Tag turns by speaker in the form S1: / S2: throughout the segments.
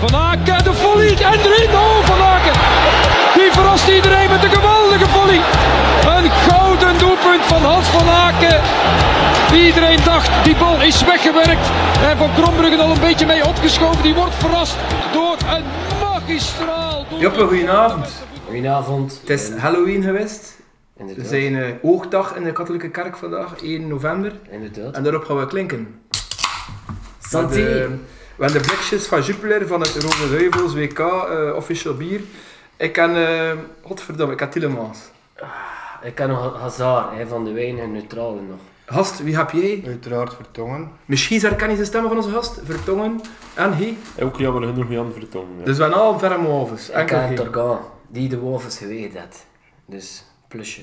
S1: Van Aken, de volley en erin. Oh, Van Aken. Die verrast iedereen met een geweldige volley. Een gouden doelpunt van Hans van Aken. Iedereen dacht, die bal is weggewerkt. En Van Krombruggen al een beetje mee opgeschoven. Die wordt verrast door een magistraal. doelpunt.
S2: Joppe, goedenavond.
S3: Goedenavond.
S2: Het is Halloween geweest. We
S3: Inderdaad.
S2: zijn eh, oogdag in de katholieke kerk vandaag, 1 november.
S3: Inderdaad.
S2: En daarop gaan we klinken.
S3: Santé.
S2: Met, eh, we hebben de blikjes van Jupiler van het Rode Duivels WK, eh, official bier. Ik ken, eh godverdomme, ik ken Tielemans.
S3: Ik ken nog Hazard, hij van de weinige neutrale nog.
S2: Gast, wie heb jij?
S4: Uiteraard vertongen.
S2: Misschien herken je de stemmen van onze gast, Vertongen en hij.
S5: Ook jammer genoeg Jan Vertongen. Ja.
S2: Dus we zijn al verre movens.
S3: Ik
S2: Enkel
S3: ken
S2: hij.
S3: Torgan, die de wolf is geweest had. Dus, plusje.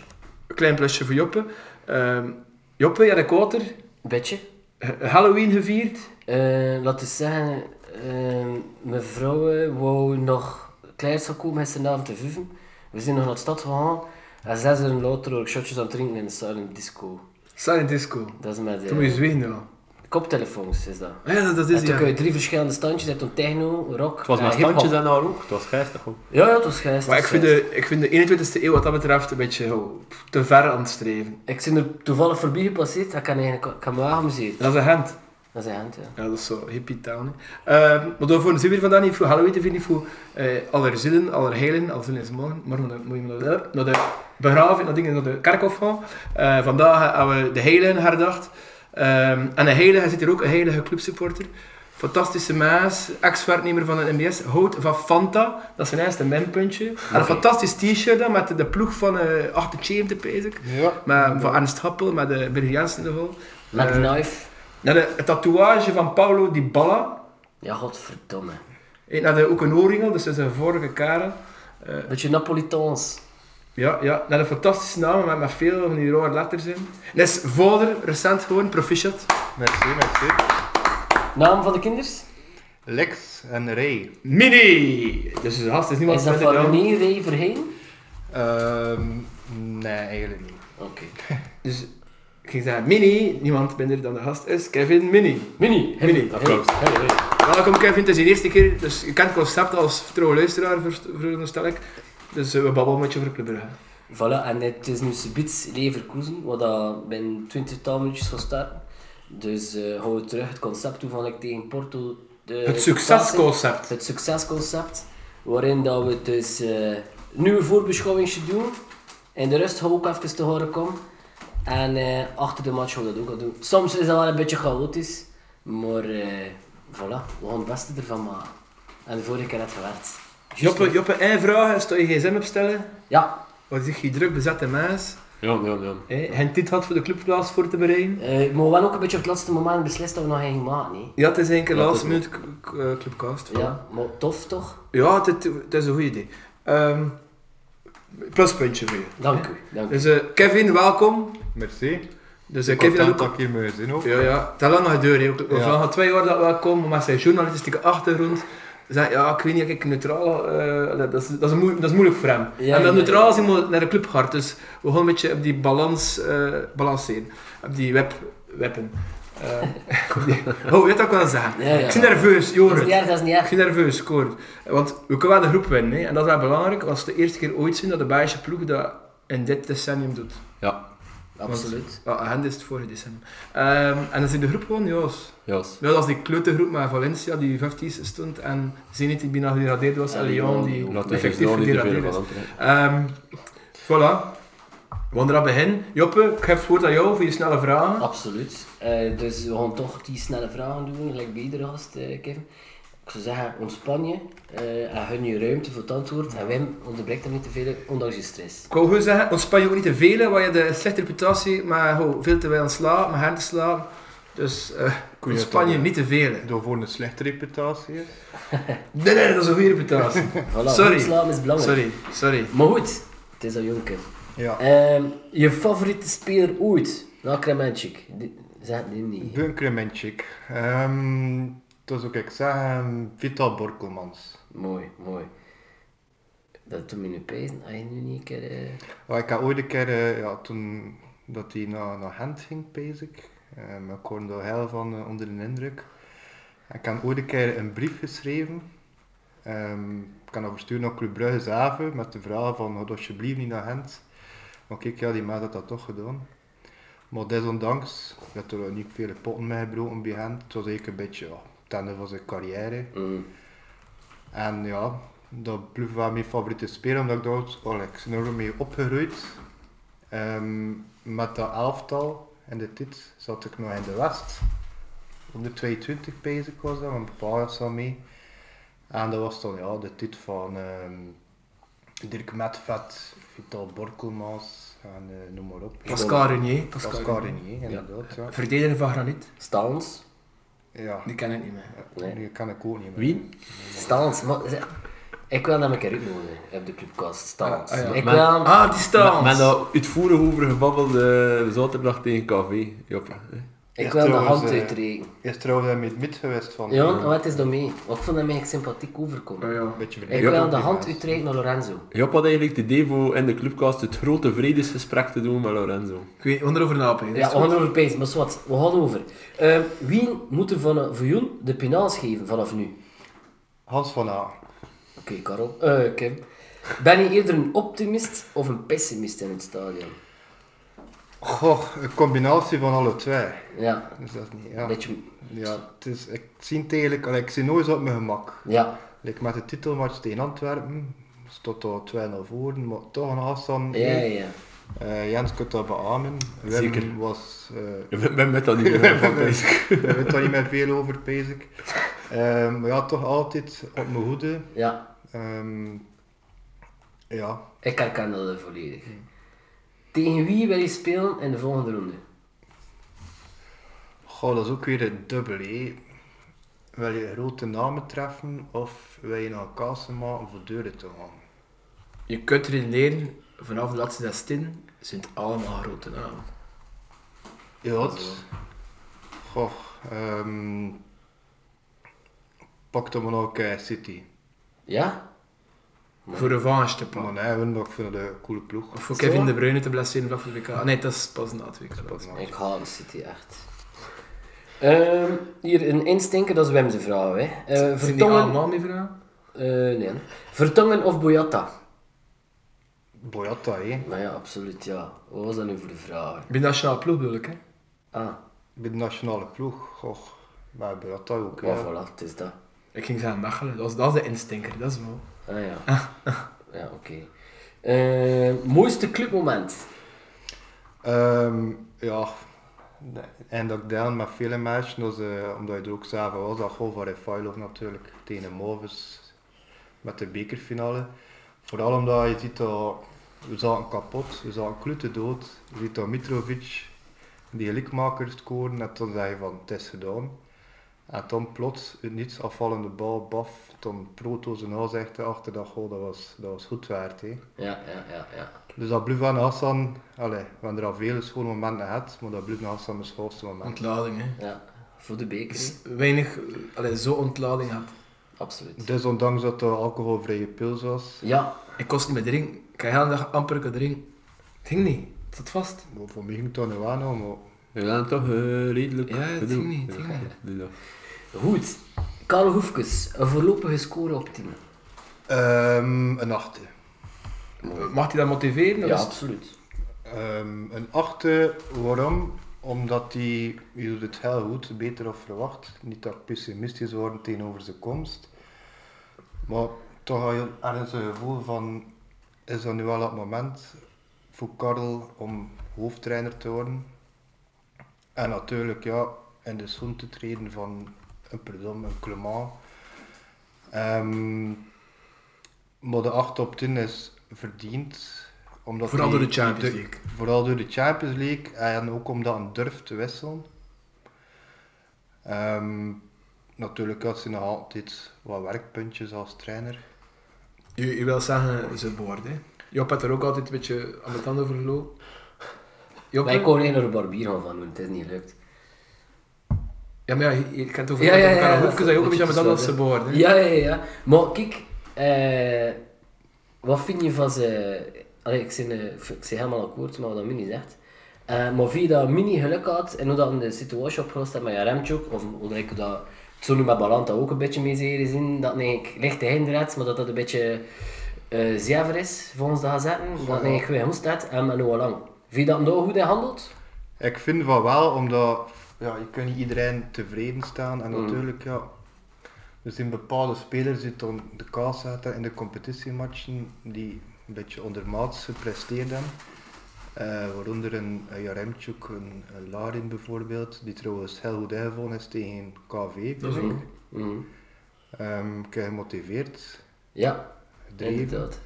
S2: Een klein plusje voor Joppe. Ehm, Joppe, jij de koter.
S3: Beetje.
S2: H- Halloween gevierd.
S3: Eh laat eens zeggen, eh, mevrouw eh, wou nog kleins komen gisteravond te vuven. We zijn nog naar de stad gegaan. En zes uur later ook shotjes aan het drinken in de silent disco.
S2: Silent Disco.
S3: Dat is met eh,
S2: Toen moet je zwegen dan.
S3: koptelefoons, is dat.
S2: Ah Ja, dat, dat
S3: En
S2: is
S3: toen
S2: ja.
S3: kun je drie verschillende standjes. Je hebt een techno, rock
S5: Het was
S3: en
S5: maar standjes
S3: hiphop.
S5: en haar ook. Het was geestig ook.
S3: Ja, ja, het was geest.
S2: Maar
S3: het
S2: ik
S3: was
S2: vind,
S3: geest.
S2: de, ik vind de 21ste eeuw wat dat betreft een beetje oh, te ver aan het streven.
S3: Ik ben er toevallig voorbij gepasseerd, dat kan eigenlijk ik kan me aangemuseerd.
S2: Dat is een hand.
S3: Dat is hand, ja.
S2: Ja, dat is zo hippie town. hè. Ehm, maar daarvoor zijn we hier vandaag niet voor Halloween te vinden, voor eh aller zielen, aller heilen, aller zielen is morgen. Morgen dan moet je naar de, naar de begraven, naar, dingen, naar de kerkhof gaan. Eh, vandaag eh, hebben we de heiligen herdacht. Ehm, en een heilige, hij zit hier ook, een heilige clubsupporter. Fantastische maas, ex-werknemer van de NBS, houdt van Fanta, dat is zijn eerste minpuntje. En een fantastisch t-shirt hè, met de ploeg van eh 78, pees ik.
S4: Ja.
S2: Maar, van Ernst Happel, met de Birger Jensen de goal.
S3: Met
S2: Eh,
S3: knife.
S2: naar de het tatoeage van Paulo Di Balla.
S3: Ja, godverdomme.
S2: Eh, Naar de ook een oorringel, dus dat is een vorige karel.
S3: Beetje Napolitaans.
S2: Ja, ja. Naar de fantastische namen met, met veel van die rode letters in. En is vader, recent gewoon, proficiat.
S4: Merci, merci.
S3: Naam van de kinders?
S4: Lex en Ray.
S2: Mini! Dus de gast is niemand
S3: Is dat
S2: minder
S3: van
S2: dan-
S3: René Ray Verheen?
S4: Ehm, nee, eigenlijk niet.
S3: Oké.
S2: Dus ik ging zeggen, Mini, niemand minder dan de gast is Kevin Mini.
S3: Mini. hey,
S2: Mini,
S3: hey,
S5: applaus.
S3: hey, hey.
S2: Welkom Kevin, het is je eerste keer, dus je kent het concept als trouwe luisteraar, verst- veronderstel ik. Dus eh, we babbelen met je over Club Brugge.
S3: Voilà, en het is nu subiet Leverkusen, wat dat binnen 20 tal minuutjes gaat starten. Dus eh gaan we terug het concept toe van ik tegen Porto... eh, De
S2: Het succesconcept.
S3: het succesconcept, waarin dat we dus eh nu een voorbeschouwingje doen. In de rust gaan we ook even te horen komen. En eh, achter de match gaan we dat ook al doen. Soms is dat wel een beetje chaotisch, maar eh, voilà, we gaan het beste ervan maken. En de vorige keer had het gewerkt.
S2: Joppe, Joppe, één vraag, als je je gsm opstellen,
S3: Ja,
S2: wat is je druk bezette mens?
S5: Jan, Jan, Jan.
S2: Hey, geen tijd had voor de clubplaats voor te bereiden.
S3: eh maar we hebben ook een beetje op het laatste moment beslist dat we nog geen maken. hè.
S2: Ja, het is één keer
S5: Ja,
S2: laatste
S5: dat is
S2: minuut k- k- eh, clubcast.
S3: Ja, maar tof toch?
S2: ja het, het is een goed idee. Ehm, pluspuntje voor je.
S3: Dank u. Dank u.
S2: Dus eh, Kevin, welkom.
S4: Merci.
S2: Dus eh,
S4: ik
S2: Kevin
S4: heb
S2: had
S4: dat
S2: ook...
S4: ik hier mee gezien ook.
S2: Ja, ja. Het is lang nog gedaan. hè. We
S4: Ja.
S2: vragen al twee jaar dat we komen, maar zijn journalistieke achtergrond... Zei, ja, ik weet niet, ik neutraal... eh, dat, is, dat, is moe- dat is moeilijk voor hem.
S3: Ja,
S2: en dat
S3: ja,
S2: neutraal
S3: ja.
S2: zijn moet naar de club hard. Dus we gaan een beetje op die balans eh, balanceren. Op die web, weppen. Eh, oh, weet dat ik wel zeggen.
S3: Ja, ja.
S2: Ik ben nerveus,
S3: Dat
S2: Joris.
S3: is niet erg, dat is niet
S2: Ik
S3: erg.
S2: ben nerveus, scoren. Want we kunnen wel de groep winnen. Hè. En dat is wel belangrijk. Want het is de eerste keer ooit zien dat de Belgische ploeg dat in dit decennium doet.
S5: Ja,
S3: Absoluut.
S2: Ah, Gent is het vorige decennium. Ehm, en dat is de groep gewoon, Joos.
S5: Jos.
S2: Dat was die kleutergroep met Valencia die 50 stond en Zenit die bijna geradeerd was en
S3: En
S2: Lyon
S3: Lyon,
S2: die
S3: die
S5: Laat er
S2: effectief
S5: nog niet te veel
S2: geradeerd is.
S5: van aantrekken.
S2: Ehm voilà. We gaan eraan beginnen. Joppe, ik geef het woord aan jou voor je snelle vragen.
S3: Absoluut. Eh, dus we gaan toch die snelle vragen doen, gelijk bij iedere gast, eh, Kevin. Ik zou zeggen, ontspan je eh, en gun je ruimte voor het antwoord. En Wim onderbreekt hem niet te veel, ondanks je stress.
S2: Ik wou gewoon zeggen, ontspan je ook niet te veel, want je hebt een slechte reputatie, maar gewoon veel te weinig aan slaap, maar her te slaan. Dus eh
S4: Kun je
S2: ontspan je
S4: toch,
S2: niet te veel. hè.
S4: Door voor een slechte reputatie. hè.
S2: Nee, nee, dat is een goede reputatie.
S3: Voilà,
S2: Sorry.
S3: goed slapen is belangrijk.
S2: sorry, sorry.
S3: Maar goed, het is al jong, Kevin.
S4: Ja.
S3: Ehm, je favoriete speler ooit? Na Kremenchik. Die- Zeg die niet.
S4: Bunkrementjik. Ehm, dat zou ik zeggen. Vital Borkelmans.
S3: Mooi, mooi. Dat doet me nu pijn. Als je nu niet een keer... eh,
S4: Oh, ik had ooit een keer, eh, ja, toen dat hij naar, naar Gent ging, pees ik. Ehm, ik eh, hoorde daar heel van eh, onder de indruk. Ik had ooit een keer een brief geschreven Ehm, ik kan dat versturen naar Club Brugge zelf, met de vraag van, ga alsjeblieft niet naar Gent. Maar kijk, ja, die maat had dat toch gedaan. Maar desondanks, ik had er niet veel potten mee gebroken bij Gent. Het was eigenlijk een beetje, ja, het einde van zijn carrière.
S3: Mm.
S4: En ja, dat bleef wel mijn favoriete speler, omdat ik daar ook- oh, ik ben er ook mee opgegroeid. Ehm, met dat elftal in de tijd zat ik nog in de West. Onder 22 bezig was dat, want papa was al mee. En dat was dan ja, de tijd van ehm, Dirk Metvet, Vital Borkelmans en eh, noem maar op.
S2: Pascal Renier.
S4: Pascal, Pascal Renier, inderdaad. Ja.
S2: Verdediger van Granit.
S3: Stans?
S4: Ja.
S2: Die ken ik niet meer.
S3: Nee.
S4: die kan ik ook niet meer.
S5: Wie?
S3: Stans, maar zeg, ik wil hem een keer uitnodigen op de clubcast. Stans.
S2: Ah, ah, ja.
S3: Ik
S5: Maar-
S3: wil hem-
S2: Ah, die
S5: Met,
S2: staan.
S5: met dat uitvoerig over gebabbeld eh, zaterdag tegen KV. Joppa. hè.
S3: ik
S4: Ja,
S3: wil de
S4: trouwens,
S3: hand
S4: eh,
S3: uitrekenen.
S4: Is trouwens in het mid geweest van. eh,
S3: Jon, wat is dat mee? Want Ik vond hem eigenlijk sympathiek overkomen.
S2: Ah, ja.
S4: Een beetje
S3: Ik
S4: verdedigd.
S3: wil de hand uitreiken naar Lorenzo.
S5: Job had eigenlijk de Devo in de clubcast het grote vredesgesprek te doen met Lorenzo.
S2: Ik weet onderover napen.
S3: Ja, we gaan erover pezen, maar wat, we gaan over. Eh, wie moet er van, voor Jon de penaals geven vanaf nu?
S4: Hans van A.
S3: Oké, Karel. Eh, Kim. Ben je eerder een optimist of een pessimist in het stadion?
S4: Goh, een combinatie van alle twee.
S3: Ja,
S4: Dus dat is niet,
S3: een
S4: ja.
S3: beetje...
S4: ja het is, ik zie het eigenlijk, allee, ik zie nooit zo op mijn gemak.
S3: Ja,
S4: Like met de titelmatch tegen Antwerpen, stond al 2 naar voren, maar toch een afstand.
S3: ja, ja. ja.
S4: Eh, Jens kunt dat beamen. Wim
S5: Zeker.
S4: was... eh
S5: We we met dat niet meer van Pijs.
S4: Daar weet daar niet meer veel over, pees ik. Ehm, maar ja, toch altijd op mijn hoede.
S3: Ja,
S4: Ehm, ja,
S3: ik herken dat volledig. Tegen wie wil je spelen in de volgende ronde?
S4: Goh, dat is ook weer het dubbel, hé. Wil je grote namen treffen of wil je naar kassen maken voor deuren te gaan?
S2: Je kunt erin leren, vanaf de laatste 16 zijn het allemaal grote namen.
S4: Ja, het- Goh, ehm pak dan maar nog eh, City.
S3: Ja?
S2: Voor revanche te
S4: Maar
S2: pakken.
S4: nee, we nog voor de coole ploeg.
S2: Of voor
S3: Zo?
S2: Kevin De Bruyne te blesseren vlak voor de WK. Ah, Nee, dat is pas na het WK. Eh,
S4: Pas na.
S3: Ik haat City echt. Ehm, hier een instinker, dat is Wim zijn vrouw. Hè. Eh,
S2: Zijn die
S3: vertongen,
S2: allemaal mee vragen?
S3: eh, nee. vertongen of Boyata?
S4: Boyata, hé.
S3: Nou ja, absoluut ja. Wat was dat nu voor de vraag?
S2: Bij de nationale ploeg bedoel ik, hè?
S3: Ah,
S4: Bij de nationale ploeg, goh. Maar Boyata ook, eh,
S3: maar
S4: ja.
S3: voilà, het is dat.
S2: Ik ging zeggen Mechelen, dat is, dat is de instinker, dat is wel.
S3: Ah ja. ja, oké. Eh, mooiste clubmoment?
S4: Ehm, ja, en dat ik deel met vele mensen, dus, eh, omdat je er ook zelf was, dat goal van Refailov natuurlijk tegen de Movis met de bekerfinale. Vooral omdat je ziet dat we zaten kapot, we zaten klute dood. Je ziet dat Mitrovic die gelijkmaker scoren en dan zeg je van het is gedaan. En dan plots, uit niets afvallende bal, baf, dan Proto zijn huis echt achter dat goal, dat was, dat was goed waard. Hè.
S3: Ja, ja, ja, ja.
S4: Dus dat bleef aan Hassan, allee, we hebben er al vele schone momenten gehad, maar dat bleef aan Hassan mijn schoolste moment.
S2: Ontlading, hè?
S3: ja. Voor de beker, hè?
S2: Dus weinig, eh, allee, zo ontlading had.
S3: absoluut.
S4: Dus ondanks dat het alcoholvrije pils was,
S3: Ja,
S2: Ik kost niet meer drinken, ik heb de hele dag amper kunnen drinken. Het ging niet, het zat vast.
S4: maar voor mij ging het toch niet aan, nou, maar
S5: We zijn toch eh, redelijk
S2: Ja, het
S5: gedoe.
S2: ging niet, het ging
S5: Ja,
S2: niet.
S5: doe dat.
S3: goed. Karel Hoefkes, een voorlopige score op 10.
S4: Ehm, een achte.
S2: Mag hij dat motiveren?
S3: Ja,
S2: Dat is-
S3: absoluut.
S4: Ehm, een achte, waarom? Omdat hij, hij doet het heel goed, beter of verwacht. Niet dat ik pessimistisch word tegenover zijn komst. Maar toch had je ergens een gevoel van, is dat nu wel het moment voor Karel om hoofdtrainer te worden? En natuurlijk, ja, in de schoen te treden van een Predom, een Clement. Ehm, maar de 8 op 10 is verdiend. Omdat
S2: Vooral
S4: hij-
S2: door de Champions League.
S4: Vooral door de Champions League en ook omdat hij durft te wisselen. Ehm, natuurlijk had ze nog altijd wat werkpuntjes als trainer.
S2: Je, je wil zeggen, ze boord, hè? Job had er ook altijd een beetje aan de tanden voor gelopen. Job,
S3: Maar ik
S2: hè?
S3: kon alleen naar de barbier gaan van doen, het is niet gelukt.
S2: Ja, maar ja, je, je kent over ja, ja, ja, ja, dat je ook een beetje aan de tanden als ze boord, hè?
S3: Ja, ja, ja, ja. Maar kijk, eh, wat vind je van ze... Allee, ik ben, eh, ik ben helemaal akkoord met wat Mini zegt. Eh, maar via dat mini geluk had en hoe dat in de situatie opgelost had met Jaremchuk, of hoe dat ik dat Tsonu met Balanta ook een beetje mee zeer zien, dat ik lichte hinder had, maar dat dat een beetje eh zever is volgens de gazetten. Dat ik weer hoest had en met Noah Lang. Via dat hem daar goed in handelt?
S4: Ik vind van wel, omdat ja, je kunt niet iedereen tevreden staan.
S2: Mm.
S4: En natuurlijk, ja, er zijn bepaalde spelers die dan de kaas zetten in de competitiematchen die een beetje ondermaats gepresteerd hebben. Eh, waaronder een, een Jaremchuk, een, een Larin bijvoorbeeld, die trouwens heel goed ingevallen is tegen KV.
S2: Dat is ook.
S3: Mhm.
S4: Ehm, ik heb gemotiveerd,
S3: Ja,
S4: gedreven.
S3: inderdaad.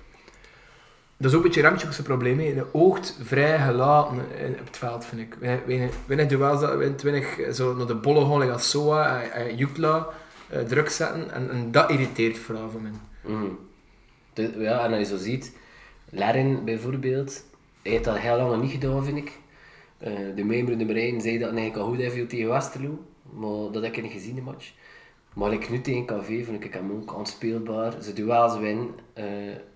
S2: Dat is ook een beetje Remtjek's probleem. hè. Hij oogt vrij gelaten eh, op het veld, vind ik. Weinig- Weinig weinig duels, dat- weinig- weinig eh, zo naar de bolle gaan, like als Soa en- en Jutla eh, druk zetten. En, en dat irriteert vooral van mij.
S3: Mhm. Dus, ja, en als je zo ziet, Larin bijvoorbeeld, hij heeft dat heel lang niet gedaan, vind ik. Eh, de member nummer 1 zei dat hij eigenlijk al goed viel tegen Westerlo, maar dat heb ik niet gezien, de match. Maar ik nu tegen KV vond ik hem ook onspeelbaar. Ze duels winnen, eh,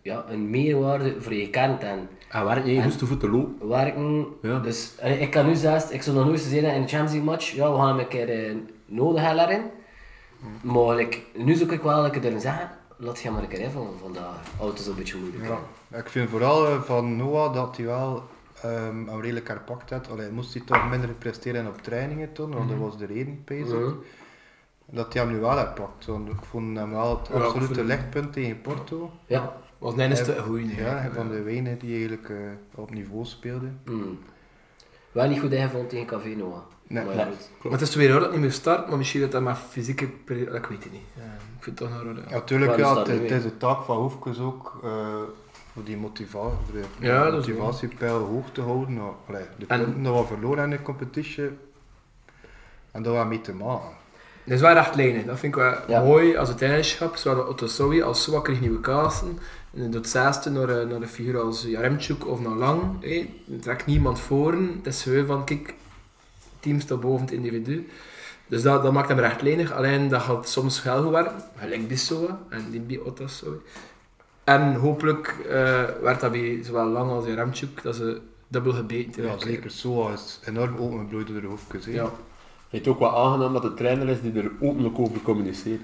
S3: ja, een meerwaarde voor je kern en
S5: En waar je hoest de voeten lopen.
S3: werken.
S5: Ja.
S3: Dus eh, ik kan nu zelfs, ik zou nog nooit zeggen in de Champions League match, ja, we gaan hem een keer eh, nodig hebben daarin. Maar ik- nu zoek ik wel dat ik erin zeggen, laat je maar een keer invallen vandaag. Oh, het is een beetje moeilijk. hè.
S4: Ja, ik vind vooral eh, van Noah dat hij wel ehm hem redelijk herpakt had. Allee, moest hij toch minder presteren op trainingen toen, want
S2: Mhm.
S4: dat was de reden, bezig. Dat hij hem nu wel herpakt. Want ik vond hem wel het
S2: Ja, ik
S4: absolute
S2: vind-
S4: lichtpunt tegen Porto.
S3: Ja.
S2: Want Nijn is
S4: Hij-
S2: te goed.
S4: Ja, hij van de Wenen die eigenlijk eh, op niveau speelde.
S3: Mm. Wel niet goed ingevallen tegen KV Noah.
S4: Nee.
S3: maar
S4: Nee.
S3: goed.
S2: Maar het is weer hoor dat het niet meer start, maar misschien dat dat maar fysieke... peri- Ik weet het niet. Ja, ik vind het toch een rode.
S4: Natuurlijk,
S3: Waar is
S4: ja,
S3: dat
S4: het,
S3: nu
S4: het
S3: in?
S4: is de taak van Hoefkes ook eh, voor die motiva voor de
S2: Ja, dat is
S4: motivatiepeil hoog te houden. Nou, allee, de
S2: En-
S4: punten dat we verloren hebben in de competition, en dat we mee te maken.
S2: Dat is wel recht lijnen. Dat vind ik wel
S3: Ja.
S2: mooi als het eigenschap. Zowel Otto Sowie als Soa kreeg nieuwe kaarsen. En in het zesde naar, eh, naar een figuur als Jaremchuk of naar Lang. Hé, er trekt niemand voor. Het is gewoon van, kijk, het team staat boven het individu. Dus dat, dat maakt hem rechtlijnig. Alleen dat gaat soms wel goed werken. Gelijk bij Soa en die bij Otto Sowie. En hopelijk eh werd dat bij zowel Lang als Jaremchuk dat ze dubbel gebeten
S4: Ja,
S2: hebben.
S4: zeker. Soa is enorm opengebloeid door de hoofdkus. hè.
S2: Ja.
S5: Vind je het ook wel aangenaam dat de trainer is die er openlijk over communiceert?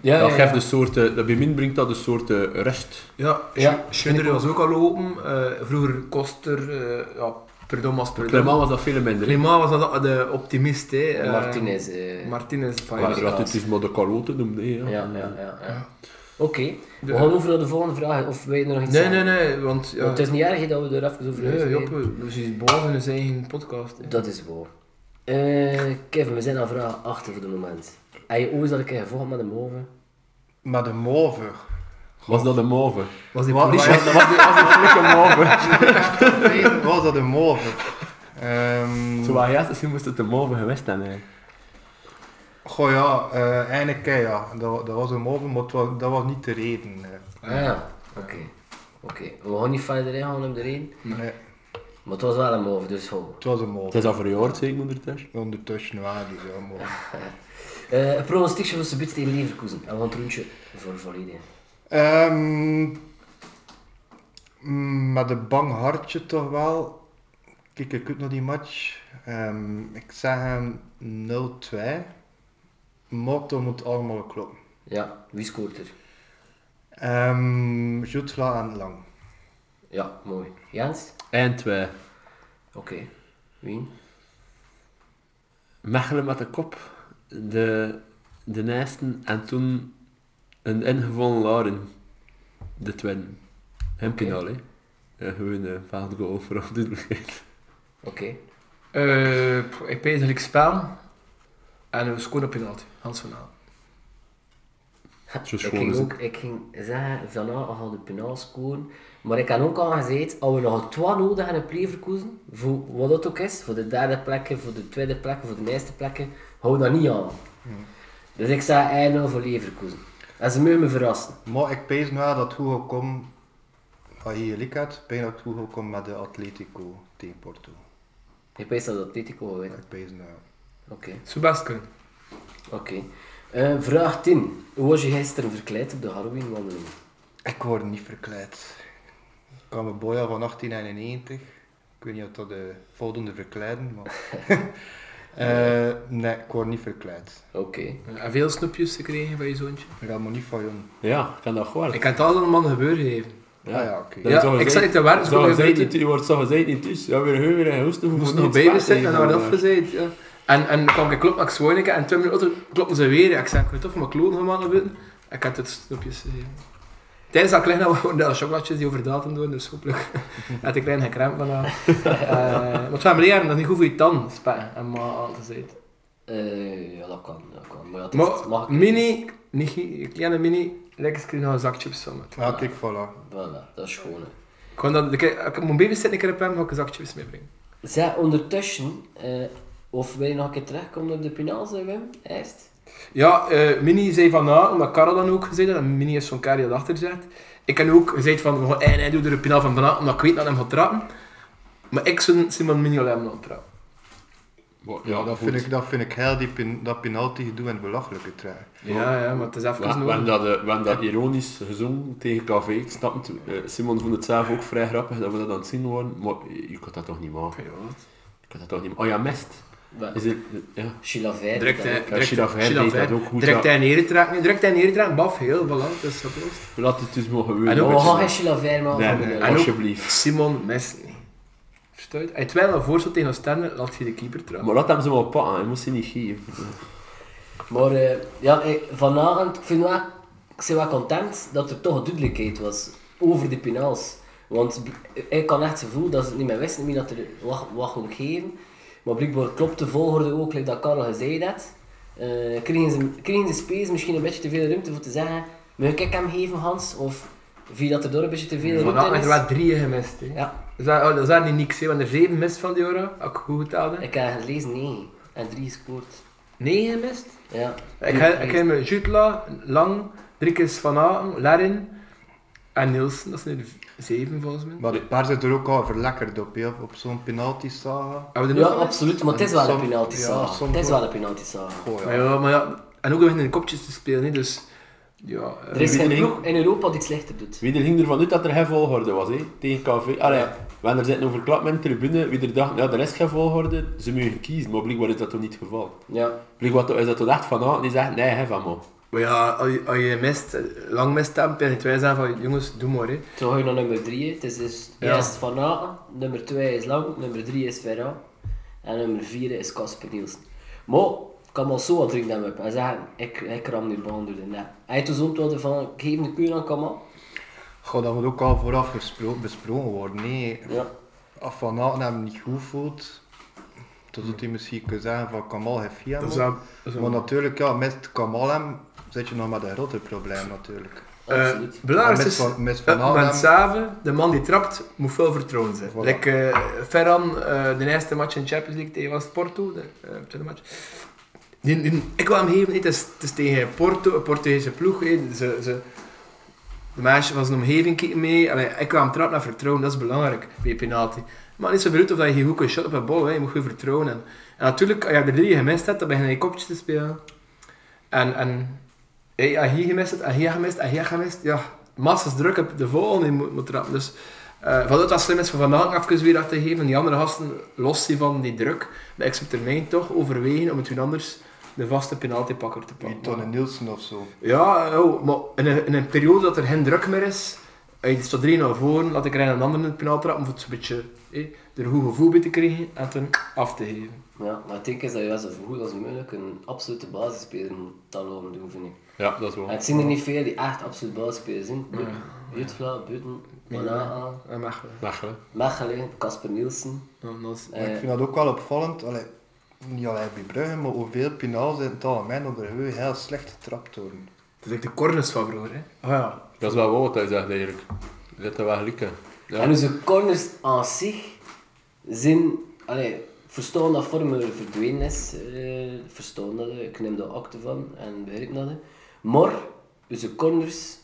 S3: Ja,
S5: dat
S3: ja,
S5: geeft
S3: ja.
S5: een soort, eh, dat bij min brengt dat een soort eh, rust.
S2: Ja,
S3: Ja,
S2: ja Schindler was ook al open. eh, vroeger Koster, eh ja, Perdom was Perdom.
S5: Clement was dat veel minder. hè.
S2: Clément was dat de optimist. hè. eh,
S3: Martinez. eh,
S2: Martinez van
S5: Maar
S2: ja.
S5: dat het is maar de Carlotte noemde. hè, Ja.
S3: ja, ja, ja. ja. Oké, we
S2: De-
S3: gaan over naar de volgende vraag. Of wil je er nog iets
S2: Nee,
S3: zeggen?
S2: nee, nee, want ja,
S3: Want het is niet erg hè, dat we er even over
S2: nee,
S3: hebben.
S2: Joppe, dus hij is boven in zijn eigen podcast. hè.
S3: Dat is waar. Eh, Kevin, we zijn aan vraag 8 voor het moment. Heb je ooit dat ik een volg met hem over?
S4: Maar de move.
S5: Was dat een move?
S2: Was die
S4: Wat-
S2: politie?
S4: wat-
S5: Dat was die, was die flikke move.
S4: Nee, was dat een move? Ehm,
S5: Zo was juist, misschien moest het een move geweest zijn. hè.
S4: goh ja, eh eindelijk hè, ja. Dat, dat was een move, maar het was- dat was niet de reden. hè.
S3: Ah ja, oké. Oké, we gaan niet verder ingaan op de reden.
S4: Nee,
S3: Maar het was wel een over, dus ho.
S4: het was een
S5: Het
S4: move.
S5: is al verjaard, zeker ondertussen.
S4: Ondertussen waren die zo move.
S3: Eh een pronostiekje voor Sebits tegen Leverkusen. En we gaan het rondje voor volledig.
S4: Ehm, mm, met een bang hartje toch wel. Kijk ik uit naar die match. Ehm, ik zeg hem 0-2. Maar dat moet allemaal kloppen.
S3: Ja, wie scoort er?
S4: Ehm Jutla en Lang.
S3: Ja, mooi. Jens?
S5: En twee.
S3: Oké. Wie?
S5: Mechelen met de kop, de, de Nijsten en toen een ingevallen Lauren, de twin. Hem
S3: Oké.
S5: okay. hè. Ja, gewoon een fout goal voor afdoenlijkheid.
S3: Oké.
S2: Eh, pff, ik pees eigenlijk spel. En we scoren op penalty. Hans van Aal.
S5: Zo
S3: Ik
S5: schoon
S3: ging,
S5: is
S3: ook,
S5: het.
S3: ik ging zeggen, vanavond gaan we de penaal scoren. Maar ik had ook al gezegd, als we nog twee nodig hebben op Leverkusen, voor wat dat ook is, voor de derde plekken, voor de tweede plekken, voor de eerste plekken, hou dat niet aan. Dus ik zei eigenlijk voor Leverkusen. En ze mogen me verrassen.
S4: Maar ik pees na dat Hugo Kom, als je gelijk had, bijna dat Hugo Kom met de Atletico tegen Porto.
S3: Ik weet dat Atletico gaat winnen.
S4: Ik pees nou- na.
S3: Oké,
S2: Zou best kunnen.
S3: oké. Eh, vraag 10. Hoe was je gisteren verkleed op de Halloween-wandeling?
S4: Ik word niet verkleed. Ik kwam een boy al van 1891. Ik Ik weet niet of dat eh voldoende verkleiden, maar... Eh, nee, ik word niet verkleid.
S3: Oké.
S2: En eh, veel snoepjes gekregen van je zoontje.
S4: Ramon niet van jong.
S5: Ja, ik Ah, kan dat gewoon.
S2: Ik kan het allemaal man gebeuren geven.
S4: Ja, Ah ja, oké.
S5: Dat
S2: Ja,
S5: zou
S2: ik
S5: gezegd-
S2: zat in de werk,
S5: zou
S2: ik
S5: gezegd
S2: weet
S5: niet- Je wordt zo gezegd niet thuis. Ja, weer heel weer en hoesten.
S2: Ik moest nog baby zijn en dan werd afgezet. Ja. En, en kwam ik kloppen, ik zwoon ik, en twee minuten later klopten ze weer. Ik zei, ik ga toch mijn kloon gaan mannen buiten. Ik had het snoepjes gegeven. Tijdens dat kleine hadden we gewoon de chocolatjes die over datum doen, dus hopelijk had ik klein gekramp vandaag. Eh, maar het waren jaren, dat is niet goed voor je tanden, spuiten en maar altijd.
S3: Eh, ja, dat kan. Dat kan. Maar ja, het is-
S2: Maar
S3: mag ik-
S2: mini, niet, gi- kleine mini, lekker screen nog een zakchips van me.
S4: Ja, kijk, voilà.
S3: Voilà, dat is schoon. hè.
S2: Gewoon dat, ik, ik mijn baby zit een keer op hem, ga ik een zakchips meebrengen.
S3: Zij ondertussen, eh, of wil je nog een keer terugkomen op de pinaal, zei Wim? Eerst?
S2: Ja, eh, Mini zei van na, omdat Karel dan ook gezegd had, en Mini is zo'n kar die dat achter zit. Ik heb ook gezegd van, we gaan- en hij doet er een penaal van na, omdat ik weet dat hij hem gaat trappen. Maar ik zou Simon Mini alleen maar trappen.
S4: Ja, dat, vind ik, dat vind ik heel die pin, dat penalty gedoe en belachelijke trein.
S2: Ja, ja, maar het is even
S5: We, we,
S2: nodig.
S5: hebben dat, eh, we hebben dat ironisch gezongen tegen KV. Ik snap het. eh, Simon vond het zelf ook vrij grappig dat we dat aan het zien waren. Maar eh, je kunt dat toch niet maken? Je kunt dat toch niet maken? Oh ja, mest.
S3: Wat?
S5: Is het, ja.
S3: Chilavert.
S2: Direct, hè.
S3: dat-
S5: Ja, Shira Vijf
S2: Shira
S5: deed
S2: Vijf.
S5: dat ook goed,
S2: Direct
S5: ja.
S2: hij neertraken, direct hij neertraken, baf, heel belangrijk, dat is opgelost.
S5: Laat het dus maar gebeuren.
S2: En ook
S3: Maar
S5: Oh,
S3: we
S2: het-
S3: gaan
S5: ha-
S3: geen Chilavert maken
S5: Nee,
S3: van
S5: nee,
S3: Mignolet.
S2: En ook-
S5: alsjeblieft.
S2: Simon mist niet. Verstaat? je? Hij twijfelt een voorstel tegen Oostende, laat hij de keeper trappen.
S5: Maar laat hem ze maar pakken, hij moest ze niet geven.
S3: Maar eh, ja, eh, vanavond, ik, vind wel, ik ben wel content dat er toch een duidelijkheid was over de penaals. Want b- eh, ik kan echt het gevoel dat ze het niet meer wisten wie dat er wat, wat kon geven. Maar blijkbaar klopt de volgorde ook, like dat Karel gezegd had. Eh, kregen, ze, kregen de spelers misschien een beetje te veel ruimte voor te zeggen, moet ik hem geven Hans? Of viel dat er door een beetje te veel
S2: Vandaag
S3: ruimte
S2: had
S3: in
S2: er
S3: is?
S2: wel drieën gemist. hè.
S3: Ja,
S2: Dat is wel- Dat is wel niet niks, hè, want er zeven mist van die euro, als ik goed geteld heb.
S3: ik heb gelezen nee. En drie gescoord.
S2: Negen mist?
S3: Ja.
S2: Ik heb, ik heb met Jutla, Lang, Driekes van Aken, Larin en Nielsen. Dat zijn er v- zeven volgens mij.
S4: Maar de paar zit er ook al verlekkerd op, hè, op- op zo'n penalty saga.
S2: Hebben we
S3: Ja,
S2: er nog een?
S3: absoluut, maar het is wel een
S4: Soms-
S3: penalty
S4: ja,
S3: saga.
S4: soms
S3: het is
S4: wel.
S3: wel een penalty saga.
S4: Goh, ja.
S2: Maar ja, maar ja, en ook beginnen in kopjes te spelen, hè, dus ja. eh,
S3: Er is geen
S5: Wie-
S3: ploeg in Europa die het slechter doet.
S5: Wie er ging ervan uit dat er geen volgorde was, hè? tegen KV. Allee, wanneer er zitten overklap met de tribune, wie er dacht, ja, er is geen volgorde, ze mogen kiezen. Maar blijkbaar is dat toch niet het geval.
S3: Ja.
S5: Blijkbaar is dat toch echt van ah, die zegt, nee, hè, van man.
S2: Maar ja, als je, als je mist, eh, lang mist hebt, en twee zijn van jongens, doe maar. Hè.
S3: Zo ga je naar nummer 3. Het is dus
S2: Ja.
S3: eerst Van Aken, nummer 2 is Lang, nummer 3 is Ferra en nummer 4 is Casper Nielsen. Maar ik kan wel zo wat drinken hem op en zeggen, ik, ik ram die baan door de net. Hij heeft dus ontwoorden van, geef een keur aan Kamal.
S4: Goh, dat moet ook al vooraf gespro- besproken worden. Nee,
S3: Ja.
S4: af van Aken hem niet goed voelt, dan zou hij misschien kunnen zeggen van Kamal heeft via
S2: Dat is wel- dat is
S4: Maar
S2: wel-
S4: natuurlijk, ja, met Kamal hem zit je nog met een groter probleem natuurlijk.
S2: Eh,
S3: Absoluut.
S2: Belangrijk
S4: Maar
S2: is,
S4: met Van- met Van
S2: dat man
S4: Aanem-
S2: Save, de man die trapt, moet veel vertrouwen zijn.
S4: Voilà.
S2: Like, eh, Ferran, eh, de eerste match in de Champions League tegen was het Porto, de eh, tweede match. Die, die- ik wil hem geven, niet, het is, het is tegen Porto, een Portugese ploeg. hè. Ze, ze, de meisje van zijn omgeving kijken mee. Allee, ik wil hem trappen naar vertrouwen, dat is belangrijk bij een penalty. Maar niet zo verrukt of dat je geen goede shot op een bal, hè. je moet goed vertrouwen. En, en natuurlijk, als je er drie gemist hebt, dan begin je kopjes te spelen. En, en hey, als je hier gemist hebt, en hier gemist, en hier gemist, ja, massas druk op de volgende moet, moet trappen. Dus eh vanuit dat slim is van vandaag even weer af te geven, die andere gasten los die van die druk, maar ik zou op termijn toch overwegen om het hun anders de vaste penaltypakker te
S4: Wie
S2: pakken.
S4: Tonne Nielsen of zo.
S2: Ja, oh, maar in een, in een periode dat er geen druk meer is, je staat drie naar voren, laat ik er een ander in het penaal trappen om het een beetje eh, er een goed gevoel bij te krijgen en het dan af te geven.
S3: Ja, maar ik denk is dat juist zo goed als mogelijk een absolute basisspeler moet dat lopen doen, vind ik.
S5: Ja, dat is wel.
S3: En het zijn er niet veel die echt absoluut basisspelers zijn. Jutla, Buten, Van Aken,
S2: En mag wel.
S5: Mechelen.
S3: Mechelen, Casper Nielsen.
S2: Dan- dan is-
S4: Maar
S3: Eh.
S4: ik vind dat ook wel opvallend. Allee, niet alleen bij Brugge, maar hoeveel pinaals in het algemeen dat er heel- heel slecht getrapt worden.
S2: Dat is echt de corners van vroeger. Hè. Oh ja,
S5: Dat is wel wat hij zegt eigenlijk. Dat is wel gelijk.
S3: En onze corners aan zich zijn, allee, verstaan dat vormen verdwenen is, eh, verstaan dat, eh, ik neem daar akte van en begrijp dat. eh. Maar onze corners,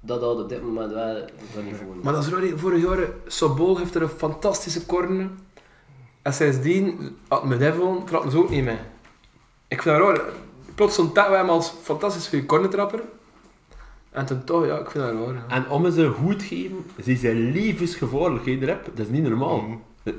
S3: dat houdt op dit moment wel van niveau.
S2: Maar dat is raar, hè. vorig jaar, Sobol heeft er een fantastische corner. En sindsdien, had me Devon, trapt ze ook niet mee. Ik vind dat raar. Plots ontdekken wij hem als fantastisch goede cornertrapper. En toen toch, ja, ik vind dat raar. ja.
S5: En om ze goed te geven, zijn ze levensgevaarlijk. hè, Drep. Dat is niet normaal.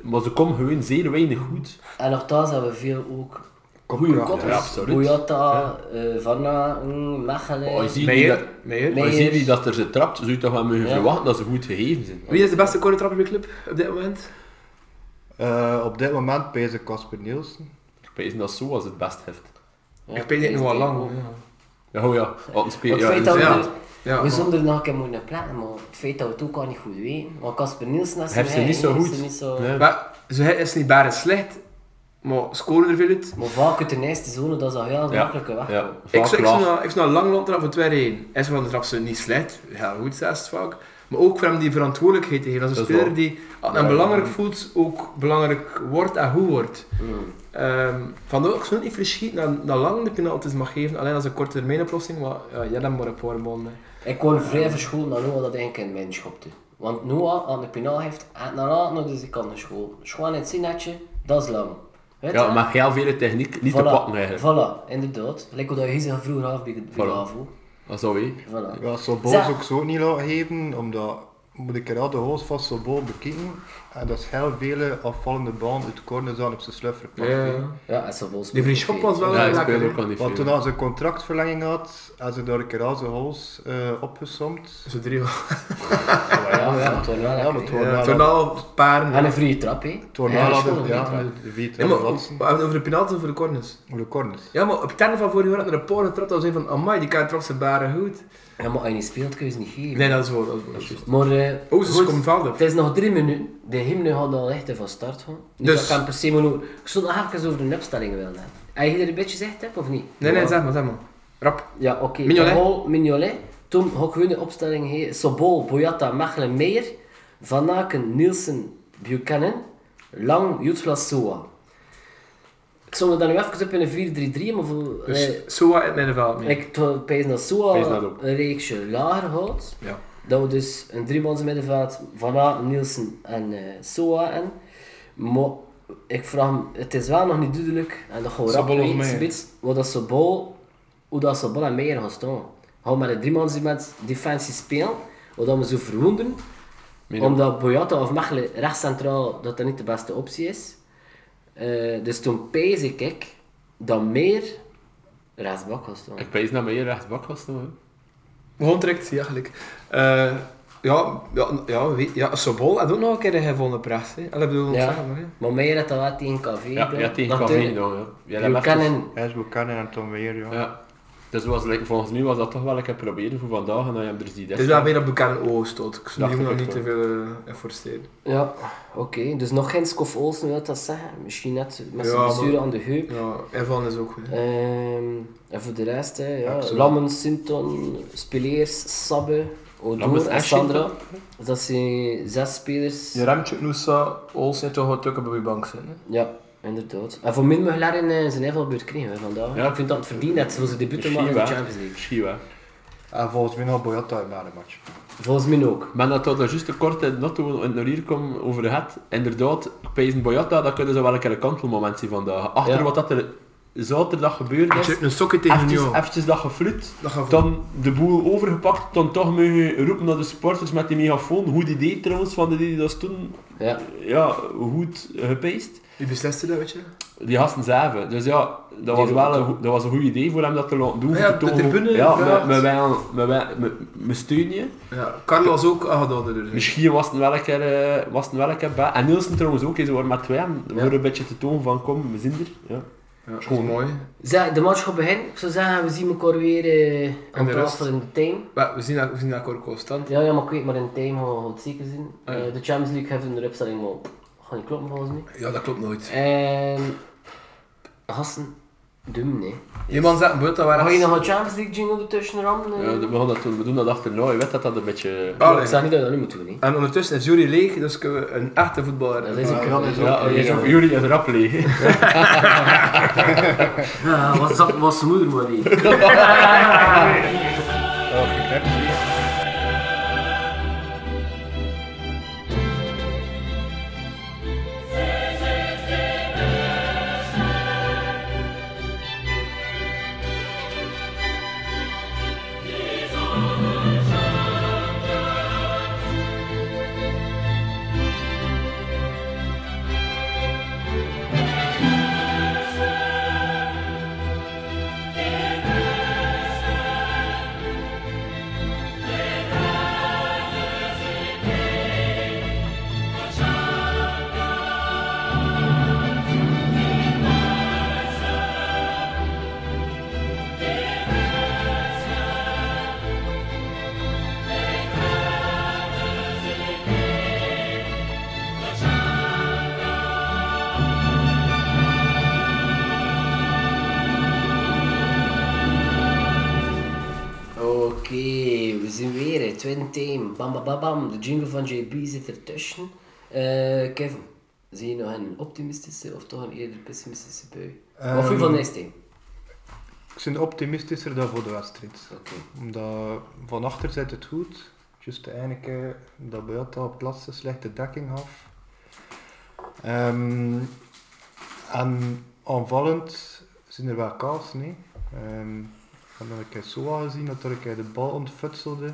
S5: Maar ze komen gewoon zeer weinig goed.
S3: En nogthans hebben we veel ook goede
S4: Kopkracht.
S5: Ja,
S3: koppers.
S5: absoluut. Oh,
S3: Boyata, eh, Van Aken,
S5: Maar je
S3: Mechelen.
S5: ziet niet dat,
S2: Meijer? Meijer?
S5: maar je ziet
S3: Meijer.
S5: niet dat er ze trapt, zou je toch wel mogen
S3: Ja.
S5: verwachten dat ze goed gegeven zijn.
S2: Wie is de beste cornertrapper bij de club op dit moment?
S4: Eh, op dit moment pees ik Casper Nielsen.
S5: Ik pijs dat zo als het best heeft.
S3: Ja,
S2: ik weet het nog wel
S3: ook.
S2: lang.
S3: Maar
S2: Ja.
S5: Ja, oh ja, wat een speel.
S3: Het
S5: Ja,
S3: feit dat we,
S2: ja.
S3: er-
S2: Ja,
S3: we
S2: maar-
S3: zonden er nog een keer moeten plannen, maar het feit dat we het ook al niet goed weten. Want Casper Nielsen als
S5: heeft ze
S3: hij
S5: niet zo
S3: heeft
S5: goed.
S3: ze niet zo-
S5: Nee.
S2: Maar zo hij is niet bare slecht, maar scoren er veel uit.
S3: Maar vaak uit de eerste zone, dat is al heel
S5: Ja,
S3: makkelijke weg.
S5: ja.
S2: Ik
S5: Vaak
S2: zou ik
S5: laag.
S2: zou naar- ik zou naar lang land trap van 2-1. Hij is van de trap ze niet slecht, heel goed zelfs vaak. Maar ook voor hem die verantwoordelijkheid te geven. Dat is een
S5: Dat is
S2: speler die als hij
S5: Ja,
S2: belangrijk
S5: ja.
S2: voelt, ook belangrijk wordt en goed wordt. Ehm Vandaar ook zo niet verschiet dat, dat lang de penalties mag geven, alleen als een korte termijn oplossing. Maar ja, jij hebt maar een paar maanden.
S3: Ik kon vrij verscholen dat Noah dat eigenlijk in mijn schopte. Want Noah aan de penaal heeft, en daarna nog eens die dus kan school. Schoon in het zinnetje, dat is lang. Weet
S5: Ja,
S3: je?
S5: maar heel veel techniek niet te
S3: Voilà,
S5: pakken eigenlijk.
S3: Voilà, inderdaad. Lijkt dat je gisteren vroeger af bij de bij de
S5: Voilà.
S3: AVO.
S5: Dat zou je.
S3: Voilà.
S4: Ja, Sobol
S3: Zeg.
S4: zou ik zo ook niet laten geven, omdat moet ik er al de goals van Sobol bekijken. En dat is heel vele afvallende baan uit corners aan op zijn sluf verpakt. hè.
S3: Ja, en ze volgens
S2: Die
S3: mij
S2: van
S3: ook
S2: Schop
S3: veel.
S2: was wel
S5: Ja, ik
S2: een
S5: speel
S2: lekker.
S5: ook al niet
S4: Want
S5: veel.
S4: toen hij zijn contractverlenging had, had ze daar een keer al zijn goals eh, opgesomd.
S2: Zo drie.
S3: Ja, ja, het waren wel
S4: Ja,
S3: lekker,
S4: maar het
S3: hè.
S4: waren wel-
S2: Toen al paren.
S3: En een vrije trap, hè.
S4: het waren
S3: Ja,
S4: wel
S3: dat is
S4: al
S3: wel
S4: de-
S3: een
S4: ja,
S3: goede trap.
S4: de vier
S2: Ja, maar we
S4: plaatsen.
S2: hebben het over de penalties of over de corners.
S4: Voor de corners.
S2: Ja, maar op het einde van vorig jaar had er een paar getrapt. Dat was een van, amai, die kan trapt zijn baren goed.
S3: Ja, maar als je niet speelt, kun je ze niet geven.
S2: Nee, dat is wel, dat is wel. Dat is juist.
S3: Maar, eh,
S2: Oh, ze
S3: goed,
S2: komt van
S3: het is nog drie minuten. De hymne gaat al echt van start gaan. Dus...
S2: Dus-
S3: Ik kan per se maar nog... Ik stond nog even over de opstelling willen hebben. Heb je er een beetje gezegd, hebt, of niet?
S2: Nee, nee,
S3: Ja.
S2: zeg maar, zeg maar. Rap.
S3: Ja, oké.
S2: Mignolet.
S3: Hol, Mignolet. Toen ga ik gewoon de opstelling heen. Sobol, Boyata, Mechelen, Meijer. Van Aken, Nielsen, Buchanan. Lang, Jutla, Soa. Ik stond er dan nu even op in een 4-3-3, maar voor,
S2: Dus
S3: eh,
S2: Soa in het middenveld mee.
S3: ik to- pijs dat Soa
S5: Pijs dat ook.
S3: een reeksje lager houdt.
S2: Ja.
S3: Dat we dus een driemans middenveld van A, Nielsen en eh, Soa en. Maar ik vraag me, het is wel nog niet duidelijk en dat gaan we rap
S2: Sobol of
S3: weten,
S2: Meijer?
S3: zoiets, wat dat Sobol, hoe dat Sobol en Meijer gaan staan. Gaan we met een driemans die met defensie spelen, wat dat we zo verwonden.
S5: Meen je?
S3: Omdat Boyata of Mechelen rechtscentraal dat dat niet de beste optie is. Eh, dus toen pijs ik ik dat Meijer rechtsbak gaat staan.
S5: Ik pijs dat Meijer rechtsbak was toen. hè.
S2: Gewoon direct, ja, gelijk. Eh, ja, ja, ja, weet- ja, Sobol had ook nog een keer een gevonden pracht. Hè. Allee, bedoel,
S3: Ja.
S2: zeg maar, hè.
S3: Maar Meijer had dat wel tegen KV
S5: Ja, ja, tegen KV gedaan, ja. Ja, dat
S3: Je
S5: mag
S3: kan
S5: dus.
S3: een...
S4: Hij is Buchanan en Tom Weer, ja.
S5: Ja. Dus was, like, volgens mij was dat toch wel een keer proberen voor vandaag en dan heb je er die
S2: Het is wel weer op elkaar oog stoot. Ik zou
S5: Dacht
S2: die jongen nog
S5: ik
S2: niet te
S5: ook
S2: veel eh, forceren.
S3: Ja, oké. Dus nog geen Scoff Olsen, wil dat zeggen? Misschien net met zijn
S2: Ja,
S3: blessure
S2: maar-
S3: aan de heup.
S2: Ja, Evan is ook goed. hè.
S3: Ehm, en voor de rest, hè, ja.
S2: Absoluut.
S3: Lammen, Sinton, Spileers, Sabbe,
S5: Lammens
S3: Odoor
S5: en
S3: en Sandra. Dat zijn zes spelers.
S2: Je Remtje, Noosa, Olsen, toch wat tukken bij je bank zijn. hè.
S3: Ja, inderdaad. En voor min mag Larin eh, zijn invalbeurt krijgen we vandaag.
S5: Ja.
S3: Ik vind dat het verdient dat ze voor zijn debuut te maken in de Champions League.
S5: Misschien wel.
S4: En volgens mij nog Boyata na de match.
S3: Volgens mij ook.
S5: Maar dat dat er juist te kort in de auto en naar hier kom over het. Inderdaad, Pijzen Boyata, dat kunnen ze wel een keer een kantelmoment zien vandaag. Achter
S3: Ja.
S5: wat dat er zaterdag gebeurd is,
S2: Een sokje tegen
S5: eventjes,
S2: jou.
S5: eventjes dat geflut,
S2: Dat gaat voor.
S5: dan de boel overgepakt, dan toch mogen roepen naar de supporters met die megafoon. Goed idee trouwens van de die dat toen,
S3: Ja.
S5: ja, goed gepaced.
S2: Wie besliste dat, weet je?
S5: Die gasten zeven. Dus ja, dat was
S3: roepen
S5: wel een, goed- dat was een goed idee voor hem dat te laten doen.
S2: Ja,
S5: om te
S2: de
S5: tonen-
S2: tribune
S5: Ja,
S2: vraagt.
S5: me, me, wel- me, wel- me, me steun je.
S2: Ja, Carlos ook aangedaan. er.
S5: Misschien was het wel een keer, eh, was het wel een keer bij. En Nielsen trouwens ook, hè, ze waren maar twee. Om voor een beetje te tonen van kom, we zijn er. Ja.
S2: Ja, dat is mooi.
S3: Zeg, de match gaat beginnen. Ik zou zeggen, we zien elkaar weer eh aan
S2: de
S3: tafel
S2: rest?
S3: in de time.
S2: Maar we zien dat, we zien dat ook constant.
S3: Ja, ja, maar ik weet, maar in de time gaan we het zeker zien.
S2: Ah, ja.
S3: Eh, de Champions League heeft een opstelling, maar gaat niet kloppen volgens mij.
S2: Ja, dat klopt nooit.
S3: En... Ehm, Gasten, dum nee.
S2: Iemand zegt, weet dat waar
S3: Ga je nog een Champions League jingle ertussen rammen?
S5: Ja,
S3: eh?
S5: we, gaan dat doen, we doen dat achterna. Je weet dat dat een beetje...
S3: Ik
S2: Allee.
S3: zeg niet dat je dat nu moet doen, hè.
S2: En ondertussen is jury leeg, dus kunnen we een echte voetballer...
S3: Dat is
S4: Ja,
S3: ook...
S4: dat is
S5: Ja,
S3: ook-
S5: je is ook jullie is rap leeg. hè.
S3: Ja, Ah, wat zat- wat zijn moeder maar die.
S6: Jezus
S3: tweede team, bam bam bam bam, de jingle van JB zit ertussen. Eh Kevin, zie je nog een optimistische of toch een eerder pessimistische bui? Wat vind je van
S4: Ehm,
S3: deze team?
S4: Ik ben optimistischer dan voor de wedstrijd.
S3: Oké.
S4: Omdat van achter zit het goed. Just de ene keer dat Boyata op het laatste slechte dekking gaf. Ehm, en aanvallend zijn er wel kaas, nee. Ehm, ik heb nog een keer Soa gezien dat er een keer de bal ontfutselde.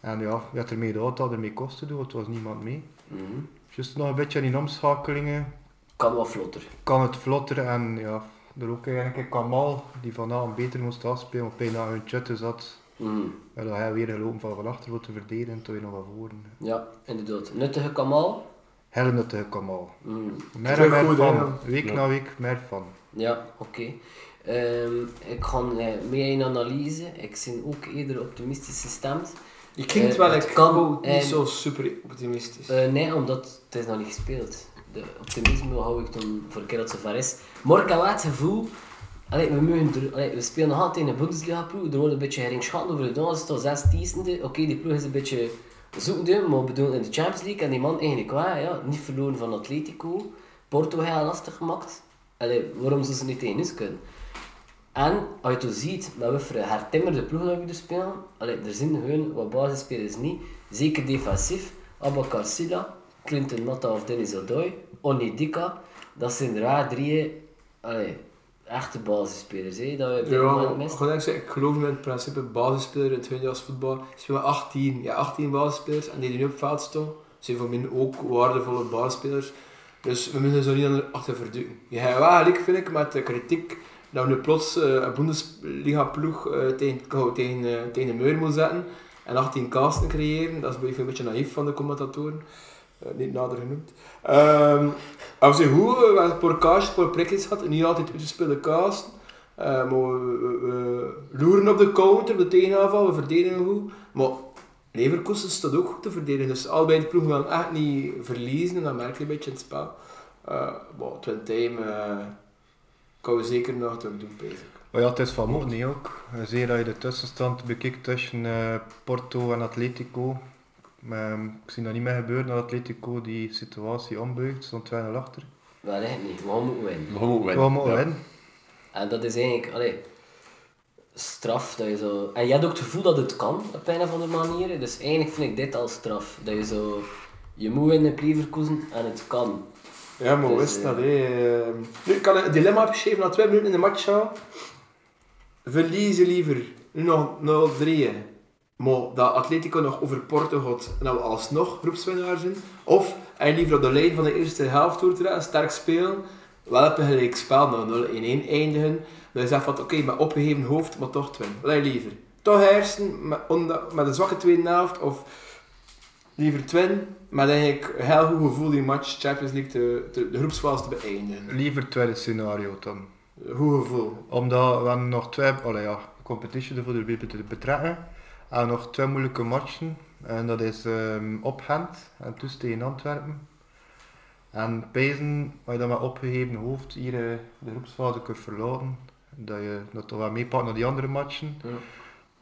S4: En ja, wie had ermee de auto had ermee kosten doen, want er was niemand mee.
S3: Mhm.
S4: Just nog een beetje aan die omschakelingen
S3: Kan wat vlotter.
S4: kan het vlotter en ja, er ook eigenlijk een Kamal die vanavond beter moest afspelen, op bijna een jutte zat.
S3: Mhm.
S4: En dan hij weer gelopen van van achter wat te verdedigen, toen je nog van voren.
S3: Ja, inderdaad. Nuttige Kamal.
S4: Helle nuttige Kamal.
S3: Mhm.
S4: Meer
S2: Terug
S4: en meer
S2: goed,
S4: van.
S2: hè?
S4: Week
S5: Ja.
S4: na week meer van.
S3: Ja, oké. Ehm, ik ga eh, mee in analyse. Ik ben ook eerder optimistisch gestemd.
S2: Je klinkt wel
S3: Eh,
S2: ik
S3: het kan,
S2: kan, niet
S3: en-
S2: zo super optimistisch.
S3: Eh, nee, omdat het is nog niet gespeeld. De optimisme hou ik dan voor een keer dat het zover is. Maar ik heb wel het gevoel... Allee, we, mogen er- allee, we spelen nog altijd in de Bundesliga-ploeg. Er wordt een beetje geringschatten over gedaan. Als het al zes tiende... Oké, die ploeg is een beetje zoekende, maar we doen in de Champions League. En die man eigenlijk wel, ja, niet verloren van Atletico. Porto heel lastig gemaakt. Allee, waarom zou ze niet tegen ons kunnen? En als je het zo ziet, met wat voor een hertimmerde ploeg dat we er spelen, allee, er zijn gewoon wat basisspelers niet. Zeker defensief. Abakar Silla, Clinton Matta of Dennis Odoi, Onidika. Dat zijn raar drieën. Allee, echte basisspelers hè, dat we op dit
S2: Ja,
S3: moment
S2: maar
S3: missen.
S2: gewoon ik, zeg, ik geloof in het principe basisspeler in het tweede als voetbal. Spelen 18, ja 18 basisspelers en die die nu op het veld staan, zijn voor mij ook waardevolle basisspelers. Dus we moeten zo niet achter verduwen. Je hebt wel gelijk vind ik met de kritiek dat we nu plots eh, een Bundesliga ploeg eh, tegen, kou- tegen, eh, tegen de muur moeten zetten en 18 kasten creëren. Dat is even een beetje naïef van de commentatoren. Eh, niet nader genoemd. Ehm als je hoe, eh, we hebben voor kaas, voor prikjes gehad, niet altijd uit te spelen kaas. Eh, maar we, we- we loeren op de counter, op de tegenaanval, we verdedigen goed. Maar Leverkusen staat ook goed te verdedigen. Dus allebei de ploegen gaan echt niet verliezen. En dat merk je een beetje in het spel. Eh maar twin time eh kan we zeker nog terug doen, bezig.
S4: Maar ja, het is van niet ook. Zeer dat je de tussenstand bekijkt tussen eh, Porto en Atletico. Ehm, ik zie dat niet meer gebeuren dat Atletico die situatie ombuigt, stond 2-0 achter.
S3: Wel echt niet, maar we moeten winnen.
S5: Maar we moeten winnen.
S4: We moeten
S5: Ja.
S4: winnen.
S3: En dat is eigenlijk, allee, straf dat je zo... En je hebt ook het gevoel dat het kan, op een of andere manier. Dus eigenlijk vind ik dit al straf. Dat je zo... Je moet winnen, op Leverkusen, en het kan.
S2: Ja, maar
S3: Dus,
S2: wist
S3: eh,
S2: dat, hè. Ehm, Nu, ik kan een dilemma beschrijven na twee minuten in de match gaan. Verliezen liever. Nu nog 0-3. Maar dat Atletico nog over Porto gaat en dat we alsnog groepswinnaar zijn. Of hij liever op de lijn van de eerste helft door te rijden, sterk spelen. Wel op een gelijk spel, nou 0-1 eindigen. Dan zegt van, oké, met opgeheven hoofd, maar toch twin. Wat heb je liever? Toch hersen, met, onda- met een zwakke tweede helft, of liever twin, met eigenlijk een heel goed gevoel die match Champions League te, te- de groepsfase te beëindigen.
S4: Liever het tweede scenario dan.
S2: Goed gevoel.
S4: Omdat we hebben nog twee allee, ja, competition ervoor erbij te betrekken. En nog twee moeilijke matchen. En dat is ehm op Gent en dus tegen Antwerpen. En Pezen, als je dat met opgeheven hoofd hier eh, de groepsfase kunt verlaten, dat je dat toch wel meepakt naar die andere matchen.
S2: Ja.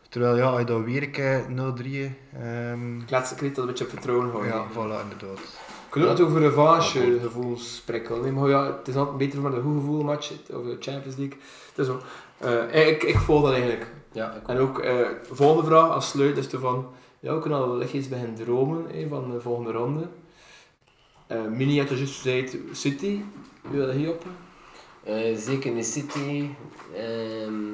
S4: Terwijl ja, als je dat weer een keer 0-3... ehm
S2: Ik laat ze dat een beetje op vertrouwen houden.
S4: ja, voilà, inderdaad.
S2: Ik kan ook over revanche gevoelens spreken. Nee, maar ja, het is altijd beter voor de goed gevoel match of de Champions League. Het is zo. Eh, ik, ik volg dat eigenlijk.
S3: Ja, ik
S2: En ook eh volgende vraag als sluit is er van, ja, we kunnen al lichtjes bij hen dromen hè, van de volgende ronde. Eh, Mini had je juist gezegd, City, wil je dat hier op?
S3: Eh, zeker in de City. ehm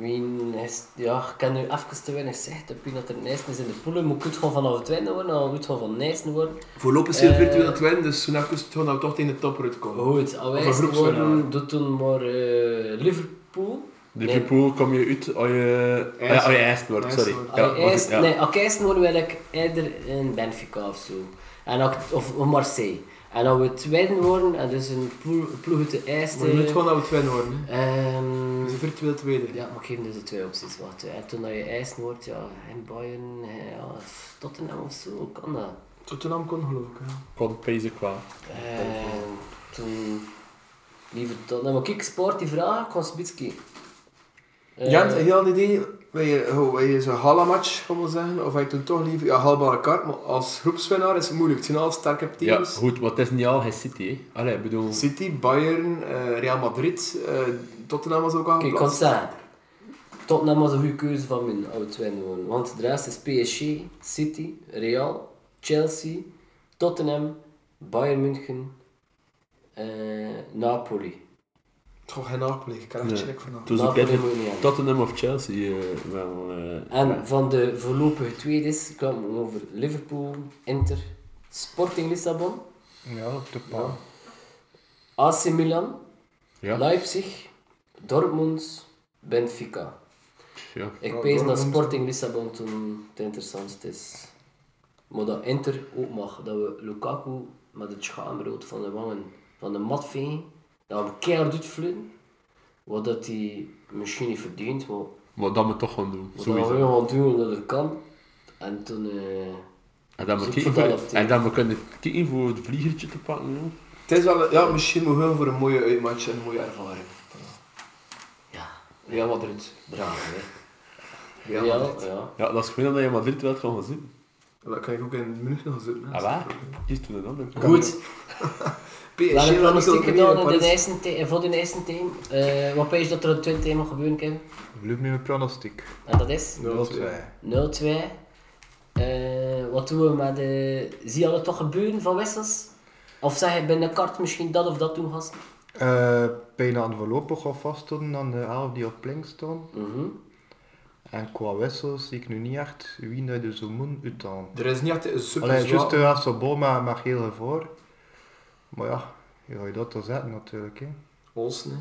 S3: wie is, ja, ik kan nu even te weinig zeggen op wie dat er het meest is in de poelen. Moet ik het gewoon vanaf het winnen worden, of moet het gewoon van Nijssen worden?
S2: Voorlopig
S3: zijn we virtueel aan het
S2: winnen, dus zo even gewoon dat we toch in de toprut komen.
S3: Goed, als wij
S2: Of een
S3: eerst worden,
S2: groepswinnaar.
S3: doet toen maar eh, Liverpool.
S5: Liverpool kom je uit als je... ah ja, Als je eerst wordt,
S2: Eerst
S5: sorry.
S2: wordt.
S5: Ja,
S3: Als
S5: was
S3: ik
S5: het,
S3: eerst,
S5: ja.
S3: nee, als ik eerst moet, wil ik eerder in Benfica of zo. En als ik- of, of Marseille. En als we tweede worden, en dus een ploeg, ploeg uit de
S2: Maar je moet
S3: eerste...
S2: gewoon dat we het winnen worden. hè.
S3: ehm,
S2: We zijn virtueel tweede.
S3: Ja, maar ik geef hem dus de twee opties. Wat, en toen dat je eisen wordt, ja, en Bayern, eh, ja, of Tottenham of zo, hoe kan dat?
S2: Tottenham kon geloof ik. ja.
S5: Kon Pezen qua.
S3: En Ehm, toen nou, liever Tottenham. Maar kijk, sport die vraag, Konsbitski.
S2: Jens, heb je al een idee Wil je, hoe, wil je zo'n gala-match, gaan we zeggen? Of heb je toen toch liever... Ja, haalbare kaart, maar als groepswinnaar is het moeilijk. Het zijn al sterke
S5: Ja,
S2: teams.
S5: goed, want het is niet al, hij City. hè. Allee, ik bedoel...
S2: City, Bayern, eh, Real Madrid, eh, Tottenham was ook al
S3: Kijk, ik kan het zeggen. Tottenham was nou, een goede keuze van mijn oud-win gewoon. Want de rest is PSG, City, Real, Chelsea, Tottenham, Bayern München, eh, Napoli.
S2: Toch geen Napoli, ik krijg
S5: Nee.
S2: het check vanavond.
S5: Toen ze
S3: Napoli
S5: kijken,
S3: moet je niet hebben.
S5: Tottenham of Chelsea eh, wel... eh,
S3: En van de voorlopige tweedes kwamen we over Liverpool, Inter, Sporting Lissabon,
S4: Ja, op de paal.
S3: AC Milan,
S5: ja,
S3: Leipzig, Dortmund, Benfica.
S5: ja.
S3: Ik
S2: Ja,
S3: pees dat
S2: Dortmund.
S3: Sporting Lissabon toen het interessantst is. Maar dat Inter ook mag, dat we Lukaku met het schaamrood van de wangen van de mat vegen, dat we hem keihard doet vliegen, wat dat hij misschien niet verdient, maar
S5: Maar dat moet toch gaan doen,
S3: wat dat we
S5: sowieso.
S3: gewoon gaan doen omdat het kan. En toen... eh,
S5: En dan, moet
S3: Zoek
S5: kijken
S3: voor
S5: voor-
S3: dat, hè.
S5: en dan we kunnen kijken voor het vliegertje te pakken. joh.
S2: Het is wel... Ja, misschien moet we voor een mooie uitmatch en een mooie ervaring.
S3: ja,
S2: Real Madrid.
S3: braaf hè.
S2: Real
S3: ja,
S2: Madrid.
S3: ja.
S5: Ja, dat is gewoon dat je in Madrid wilt gaan zien.
S2: Dat kan ik ook in München nog zitten. hè.
S5: Ah, waar? Kies toen en dan.
S3: Goed,
S2: PSG,
S3: we hebben
S2: dat is ook
S3: pronostiek
S2: niet in
S3: gedaan in de
S2: Parijs.
S3: eerste te- voor de eerste team. Eh, wat pees je dat er in het tweede team mag gebeuren, Kevin?
S4: Blijf met mijn pronostiek.
S3: En dat is?
S4: 0-2.
S3: 0-2. Eh, wat doen we met de... Zie je al het toch gebeuren van wissels? Of zeg je binnenkort misschien dat of dat doen, gasten?
S4: Eh bijna aan voorlopig alvast doen aan de elf die op plank staan.
S3: Mhm.
S4: En qua wissels zie ik nu niet echt wie dat er zo moet uithalen.
S2: Er is niet echt een super
S4: Alleen juist
S2: zwaar-
S4: de Sobol maar maar heel voor. Maar ja, je gaat je dat te zetten natuurlijk. Hè.
S2: Olsen, hè.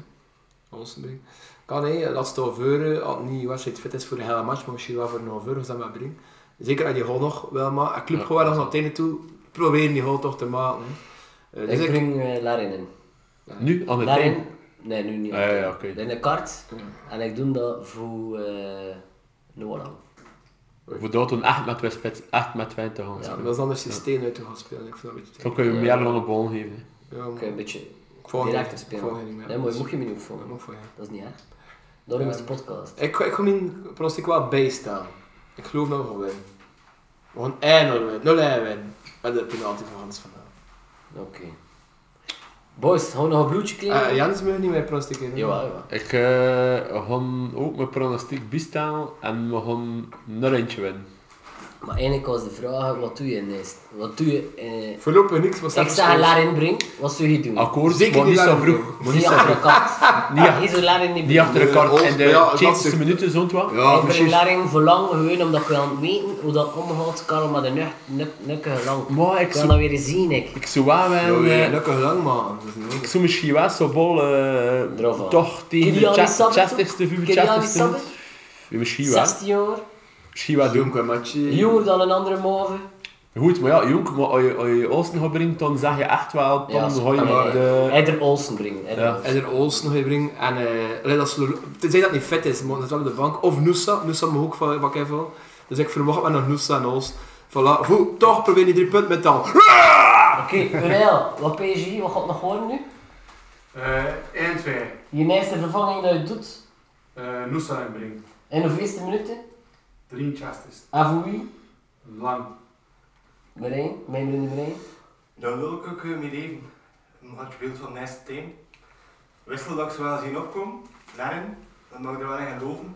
S2: Olsenbeek. Kan nee, laatste halveur, eh, als het niet wedstrijd fit is voor een hele match, maar misschien wel voor een halveur, als dat maar brengt. Zeker als je goal nog wel maakt. En club
S5: Ja.
S2: gewoon wel eens naar het einde toe, proberen die goal toch te maken. hè. Eh, dus
S3: Ik
S2: ik-
S3: breng eh Larin in.
S5: Nu, aan het
S3: Larin?
S5: einde.
S3: Nee, nu niet.
S5: Ah, ja, ja, oké.
S3: In de kart. En ik doe dat voor eh Noorland.
S5: Voor dat toen echt met twee spits, echt met 20 gaan
S2: dat
S5: spelen.
S2: is anders je steen uit te gaan spelen. Ik vind dat een beetje te-
S5: Dan kun je
S3: Ja.
S5: hem meer lange bal geven. hè.
S2: Ja,
S3: Kun je eh, een
S2: maar-
S3: beetje
S2: ik volg niet.
S3: directer
S2: Ik volg niet
S3: spelen.
S2: meer.
S3: Nee, maar je moet je me niet
S2: Dat
S3: opvallen.
S2: mag voor je.
S3: Dat is niet erg. Daarom is de
S2: Ja.
S3: podcast.
S2: Ik, ik ga mijn pronostiek wel bijstaan. Ik geloof dat we gaan winnen. We gaan 1-0 winnen. 0-1 winnen. Met de penalty van Hans vandaag.
S3: Oké. Boys, gaan we nog een bloedje kleden?
S2: Eh, Jans mag niet meer pronostiek in.
S3: Jawel, jawel.
S5: Ik eh ga ook mijn pronostiek bijstaan en we gaan een eentje winnen.
S3: Maar eigenlijk was de vraag, wat doe je in deze? Wat doe je... eh,
S2: Voorlopig niks, maar
S3: Ik
S2: straks
S3: zeg
S2: wel.
S3: Larin Brink, wat zou je doen?
S5: Akkoord,
S2: Zeker
S5: maar
S2: niet
S5: niet zo
S2: langer
S5: vroeg. Maar Oh, niet
S3: niet
S5: zo
S3: achter
S5: vroeg.
S3: de Ah, kant.
S5: Niet ach-
S3: Hier zou Larin niet
S5: Niet
S3: brengen.
S5: achter de kant
S2: Nee,
S5: in de
S2: ja, dat
S5: 70ste
S2: is-
S5: minuten, zo'n wat.
S2: Ja,
S3: ik breng
S2: precies.
S3: Larin voor lang gewoon omdat ik wil weten hoe dat omgaat, Karel, met de nuk, nuk, nukkige lang.
S5: Maar ik
S3: Ik wil
S5: zou-
S3: dat weer zien, ik.
S5: ik zou wel wel,
S2: Ja, ja,
S5: eh,
S2: Gelukkig lang, man. Dat is niet
S5: ik
S2: nodig.
S5: zou misschien wel zo bal eh,
S3: Eraf aan.
S5: toch tegen
S3: Ken
S5: de
S3: je al die
S5: cha-
S3: sabber, toch?
S5: 60ste,
S3: Ken je al die
S5: 65ste
S3: sabber?
S5: minuut. Ja, Misschien wel.
S3: 16 jaar,
S5: Misschien wel doen.
S2: Jonk en Matje.
S3: jonger dan een andere move.
S5: Goed, maar ja, Jonk, maar als je, als je Olsen gaat brengen, dan zeg je echt wel, dan
S3: Ja,
S5: ga je
S3: eh,
S5: de...
S3: Eder Olsen brengen. Eder
S5: Ja.
S3: Olsen.
S2: En er Olsen nog inbrengen. En eh, allee, dat is, tenzij dat niet vet is, maar dat is wel op de bank. Of Noosa. Noosa mag ook van, van Kevin. Dus ik verwacht wel nog Noosa en Olsen. Voilà. Goed, toch probeer die drie punten met dan.
S3: Oké, Unel, wat PSG, wat gaat nog horen nu?
S6: 1-2.
S3: Je meeste vervanging dat je doet,
S6: Uh, Nusa inbrengt.
S3: in de eerste minuten,
S6: 63.
S3: en voor wie?
S6: Lang.
S3: Marijn, mijn vriend Marijn.
S7: Dan wil ik ook eh, mee leven. Maar het beeld van Nijs Teen. Wissel dat ik ze wel zien opkomen. Daarin, dan mag ik er wel in geloven.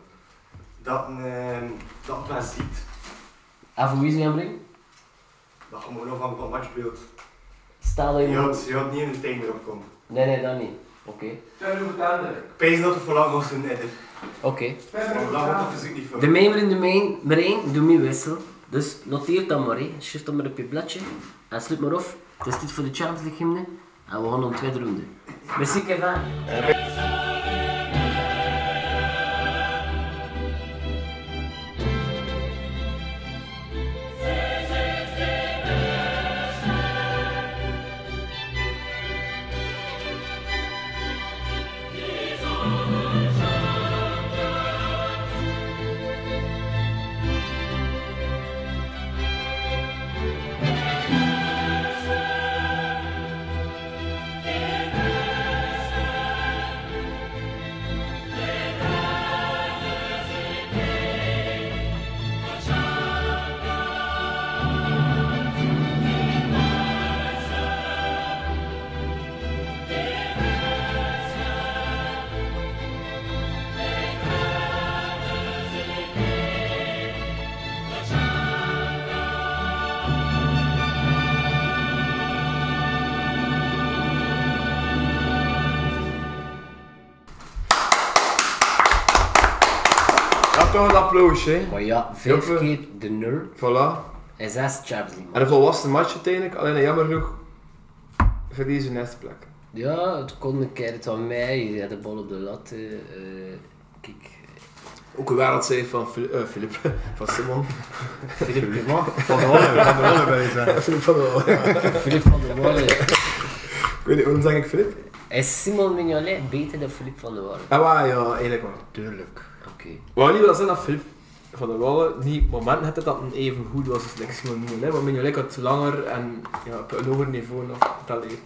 S7: Dat, een, eh, dat het wel ziet.
S3: En voor wie zou je hem brengen?
S7: Dat je nog van van matchbeeld.
S3: Stel dat je...
S7: Je had, je had niet in de tijd erop komen.
S3: Nee, nee, dat niet. Oké.
S7: Ik pijs dat het voor lang was doen, Edder.
S3: Oké.
S7: Want dat wordt de fysiek niet voor.
S3: De mijmer in de mijn, Marijn, doe mij wissel. Dus noteer dat maar, hè. schrijf dat maar op je bladje. En sluit maar af. Het is dit voor de Champions League hymne. En we gaan om tweede ronde. Merci Kevin.
S8: Thank
S2: Ja, toch een applausje. hè.
S3: Maar ja, vijf
S2: Joppe.
S3: keer de nul
S2: Voilà.
S3: en zes Champions League.
S2: En
S3: man.
S2: een volwassen match uiteindelijk, alleen eh, jammer genoeg verliezen de eerste plek.
S3: Ja, het kon een keer het aan mij. Je had de bal op de lat. eh, eh, kijk,
S2: Ook een wereldcijfer van Fili- eh, Filip, van Simon.
S3: Philippe
S4: Van de Holle, van de Holle bij je zijn.
S2: Filip van der Wal.
S3: Philippe van der Wallen.
S2: Ik weet niet, waarom zeg ik Filip?
S3: Is Simon Mignolet beter dan Philippe van der Wallen?
S2: Ah, waar, ja, eigenlijk wel.
S4: Tuurlijk.
S3: Oké.
S2: Maar niet wil zeggen dat Filip van der Wallen niet momenten had dat het even goed was als like Simon Mignolet, want Mignolet had langer en ja, op een hoger niveau nog talent.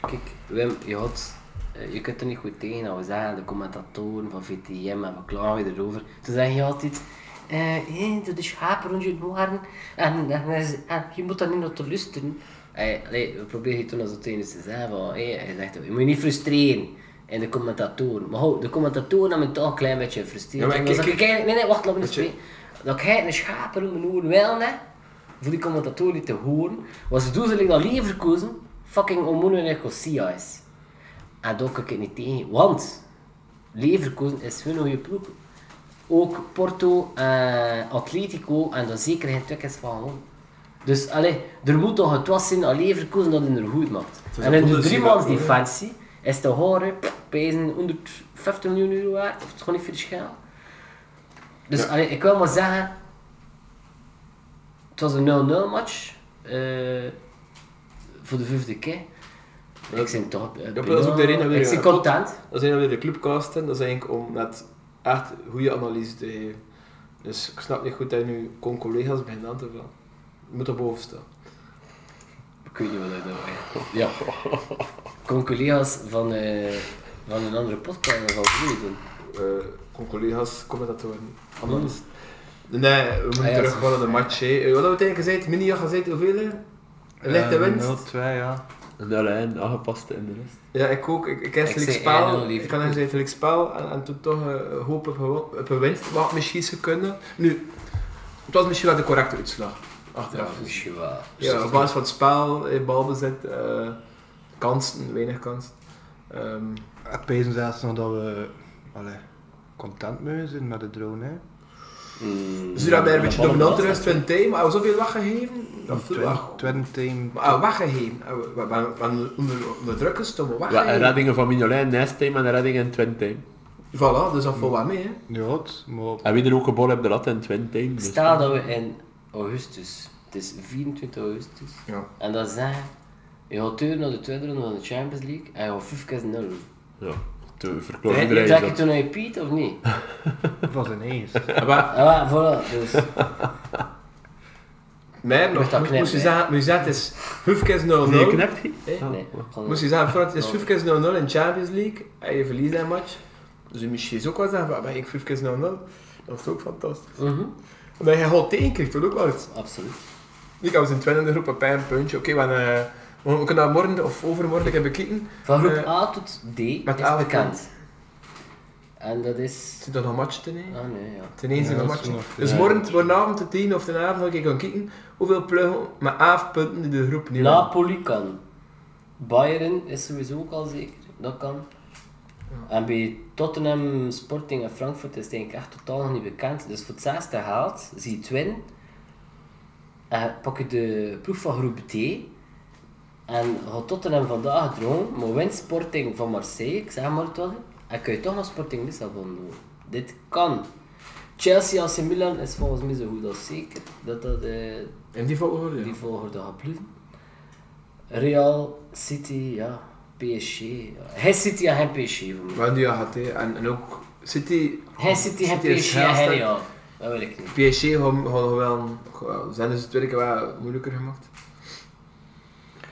S3: Kijk, Wim, je, had, eh, je kunt er niet goed tegen dat we zeggen, de commentatoren van VTM en we klagen erover. Toen zeg je altijd, eh, eh, dat is schaap rond je oren en, en, en- en je moet daar niet naar te luisteren. Hey, allee, we proberen je toen als het enige te zeggen van, hey, hij zegt, je moet je niet frustreren. En de commentatoren. Maar hou, de commentatoren hebben me toch een klein beetje gefrustreerd.
S2: Ja, maar
S3: Omdat
S2: kijk,
S3: ik eigenlijk- nee, nee, wacht, laat me eens
S2: Weet je-
S3: spreken. Dat ik een schaap rond mijn oren wel, hè voor die commentatoren niet te horen, was het doelstelling dat Leverkusen fucking Omono en Nicosia is. En daar kan Ah, ik het niet tegen, want Leverkusen is hun goede ploeg. Ook Porto en Atletico en daar zeker geen tickets van gewonnen. Dus allee, er moet toch het was zijn aan Leverkusen dat hij er goed maakt.
S2: is
S3: En
S2: een
S3: in de
S2: Bundesliga
S3: driemans
S2: ploeg, hè.
S3: defensie is te horen, pff, pijzen 150 miljoen euro waard, of het gewoon niet verschil. Dus allee, ik wil maar zeggen, het was een 0-0 match. eh, voor de vijfde keer. Ik ben toch... eh,
S2: dat is ook de reden dat we-
S3: Ik ben content.
S2: Dat zijn weer de clubcasten, dat is eigenlijk om net echt goede analyse te geven. Dus ik snap niet goed dat je nu kon collega's begint aan te vallen. Je moet er boven staan.
S3: Ik weet niet wat ik dat Ja. Kom collega's van, eh, van een andere podcast dat zal ik niet doen.
S2: eh kon collega's, commentatoren, analisten. Nee, we moeten
S3: Ah, ja,
S2: terug gewoon naar de match. hè. Eh, Wat hebben we tegen gezegd? Mini had gezegd hoeveel? hè? Een lichte
S4: Eh,
S2: winst.
S4: 0-2, ja.
S5: En daarin aangepast in de rest.
S2: Ja, ik ook. Ik, ik ken
S3: Ik
S2: Felix
S5: eh,
S3: zei
S2: Paal.
S3: 1-0
S2: Ik
S3: Liverpool.
S2: kan zeggen Felix Paal en, en toen toch eh, hoop op, gewo- op een winst. Wat misschien ze kunnen. Nu, het was misschien wel de correcte uitslag. Achteraf.
S3: Ja, misschien wel.
S2: Ja, op basis van het spel, eh, balbezit, eh, kansen, weinig kansen. Ehm,
S4: Ik pees zelfs nog dat we allee, content mogen zijn met de drone. Hè.
S2: dus hier hebben we een beetje dominant rust, 20, maar hebben we zoveel weggegeven? Dat voelt wel goed.
S4: Twin team.
S2: Maar ah, weggegeven. Ah, We we- we- we- onder, onder druk gestopt, maar
S5: Ja, en
S2: weggegeven.
S5: reddingen van Mignolet, Nest Time en een redding in Twin Time.
S2: voilà, dus dat valt wel mee. Hè.
S4: Ja, het, maar
S5: En wie er ook een bal op de lat in Twin Time. Dus
S3: Stel dat we in augustus, het is 24 augustus,
S2: Ja.
S3: en dat zeggen, je gaat deur naar de tweede ronde van de Champions League en je gaat vijf keer nul doen.
S5: Ja, te verklaren
S3: Trek
S5: iedereen
S3: je
S5: dat.
S3: toen naar je Piet of niet?
S4: van zijn eens.
S2: Maar
S3: Ah, voilà, dus.
S2: mij
S3: Moet
S2: nog,
S3: dat
S2: moest-
S3: knippen,
S2: moest je
S3: hè?
S2: zeggen, moest je zeggen, het is Hufkes 0-0.
S5: Nee, knipt hij?
S3: Nee, gewoon-
S2: Moest je zeggen, voordat het is Hufkes 0-0 in Champions League, en je verliest een match. Dus je misschien ook wel zeggen, waar ben ik Hufkes 0-0? Dat is ook fantastisch.
S3: Mhm,
S2: Omdat je gewoon tegenkrijgt, dat ook wel iets.
S3: Absoluut.
S2: Ik was in twintig groep een pijn, puntje. Oké, we gaan, eh, we, we kunnen dat morgen of overmorgen hebben bekeken.
S3: Van groep
S2: Eh,
S3: A tot D
S2: met
S3: is
S2: elke
S3: bekend. En dat is...
S2: Zit er nog matchen te nemen?
S3: Ah nee, ja.
S2: Ten eerste
S4: Ja,
S2: nog
S4: dat is
S2: matchen.
S4: nog-
S2: Dus
S4: ja.
S2: morgen, morgenavond, te tien of ten avond, ga ik gaan kijken hoeveel pluggen met aaf punten die de groep neemt.
S3: Napoli kan. Bayern is sowieso ook al zeker, dat kan. En bij Tottenham, Sporting en Frankfurt is het eigenlijk echt totaal nog niet bekend. Dus voor het zesde haalt, zie je het winnen. En pak je de proef van groep D. En gaat Tottenham vandaag dromen, maar wint Sporting van Marseille, ik zeg maar het wel. En kun je toch nog Sporting Lissabon doen. Dit kan. Chelsea AC Milan is volgens mij zo goed als zeker. Dat dat eh,
S2: In die volgorde, ja.
S3: die volgorde gaat blijven. Real, City, ja, PSG. ja. Hij City en hij PSG voor mij.
S2: Wat die al had, hè. eh, en, en ook City...
S3: Hij City, hij
S2: is
S3: PSG en hij
S2: heel
S3: Real. Dat weet ik niet.
S2: PSG gaan gaan wel, gaan- zijn dus het werken wel moeilijker gemaakt.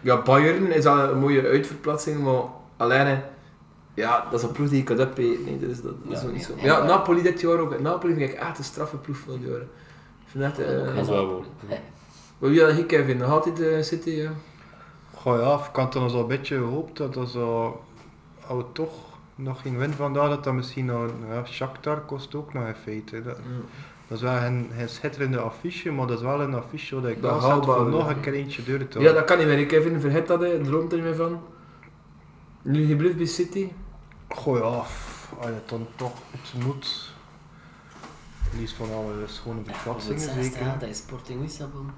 S2: Ja, Bayern is al een mooie uitverplaatsing, maar alleen, hè, ja, dat is een ploeg die je kunt opeten. Nee, dat is, dat, dat is
S3: Ja,
S2: ook niet
S3: ja.
S2: zo. Maar Ja, Napoli dit jaar ook. Napoli vind ik echt een straffe ploeg van die jaren. Ik vind echt, eh,
S5: Dat is wel wel.
S2: maar wie had ik Kevin? Nog altijd eh, City, ja.
S4: Goh ja, ik had dan zo een beetje gehoopt dat dat zo... Als we toch nog geen win vandaag, dat dat misschien nog... Ja, Shakhtar kost ook nog in feite. hè. Dat, dat is wel een, een schitterende affiche, maar dat is wel een affiche dat ik
S2: Dat
S4: wel zet voor
S2: haalbare,
S4: nog
S2: ja.
S4: een keer eentje deur te
S2: Ja, dat kan niet meer. hè, Kevin, vergeet dat, hè. droomt er niet meer van. Nu je blijft bij City.
S4: Goh ja, pff, als je het dan toch iets moet. Niets van alle schone verkratsingen,
S3: Zesde, ja,
S4: zeker.
S3: dat is Sporting Lissabon.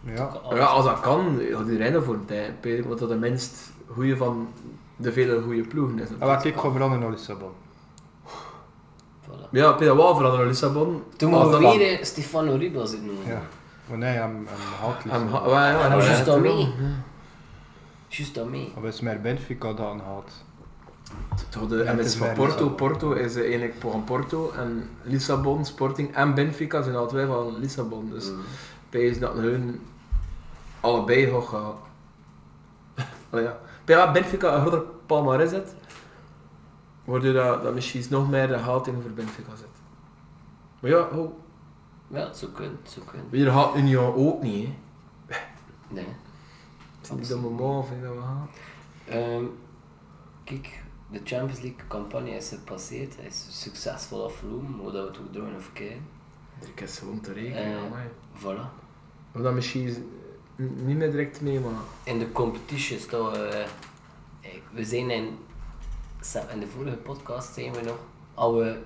S4: Ja,
S3: Oh.
S2: Ja, als dat kan, gaat die rijden voor een tijd. Peter, Want dat de minst goede van de vele goede ploegen is.
S4: Ah, maar kijk, ik ga veranderen naar Lissabon.
S3: Voilà.
S2: Ja, Peter Waal veranderen naar Lissabon.
S3: Toen
S2: Als
S3: mogen
S2: dat-
S3: we weer eh, Stefano Ribas het noemen.
S4: Ja. Maar nee, hem, hem haalt
S2: Hem ha-
S4: Lissabon.
S2: ja, ja,
S3: Maar
S2: ja,
S3: juist
S2: ja,
S3: daarmee.
S2: ja.
S3: Juist daarmee.
S4: Hij is meer Benfica dan haalt.
S2: Toch de
S4: Ja, het is
S2: MS van
S4: bij
S2: Porto.
S4: Lissabon.
S2: Porto is eh, eigenlijk van Porto en Lissabon, Sporting en Benfica zijn alle twee van Lissabon. Dus PS dat hun allebei hoog gaan. Allee, ja. Bij wat Benfica een groter palmarès zet, waardoor dat, dat misschien nog meer de haat in voor Benfica zit. Maar ja, oh,
S3: Ja, zo kunt, zo kunt.
S2: weer haat Union ook niet. Hè.
S3: Nee.
S2: Het is niet dat moment vind ik dat we gaan.
S3: Ehm, kijk, de Champions League campagne is gepasseerd. Hij is succesvol afgelopen, hoe dat we het ook doen of kijken.
S2: Ik is gewoon te rekenen.
S3: Eh.
S2: amai.
S3: Voilà.
S2: Of dat misschien niet meer direct mee, maar...
S3: In de competition staan we... eh, We zijn in... Sam, In de vorige podcast zijn we nog... Al we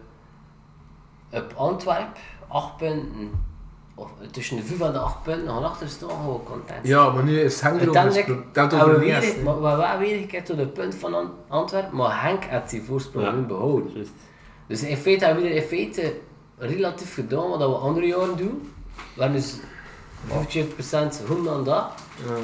S3: op Antwerp, 8 punten. Of tussen de 5 en de 8 punten, nog achter staan, gewoon content.
S2: Ja, maar nu is Henk erover
S3: Uiteindelijk
S2: gesproken. Dat
S3: hebben
S2: over
S3: we
S2: de
S3: weer,
S2: rest, hè.
S3: maar, maar we hebben weer gekeerd tot het punt van An- Antwerpen, maar Henk had die voorsprong
S9: Ja.
S3: nu behouden.
S9: Juist.
S3: Dus in feite hebben we er in feite relatief gedaan wat we andere jaren doen. We hebben dus 50% goed dan dat.
S2: Ja.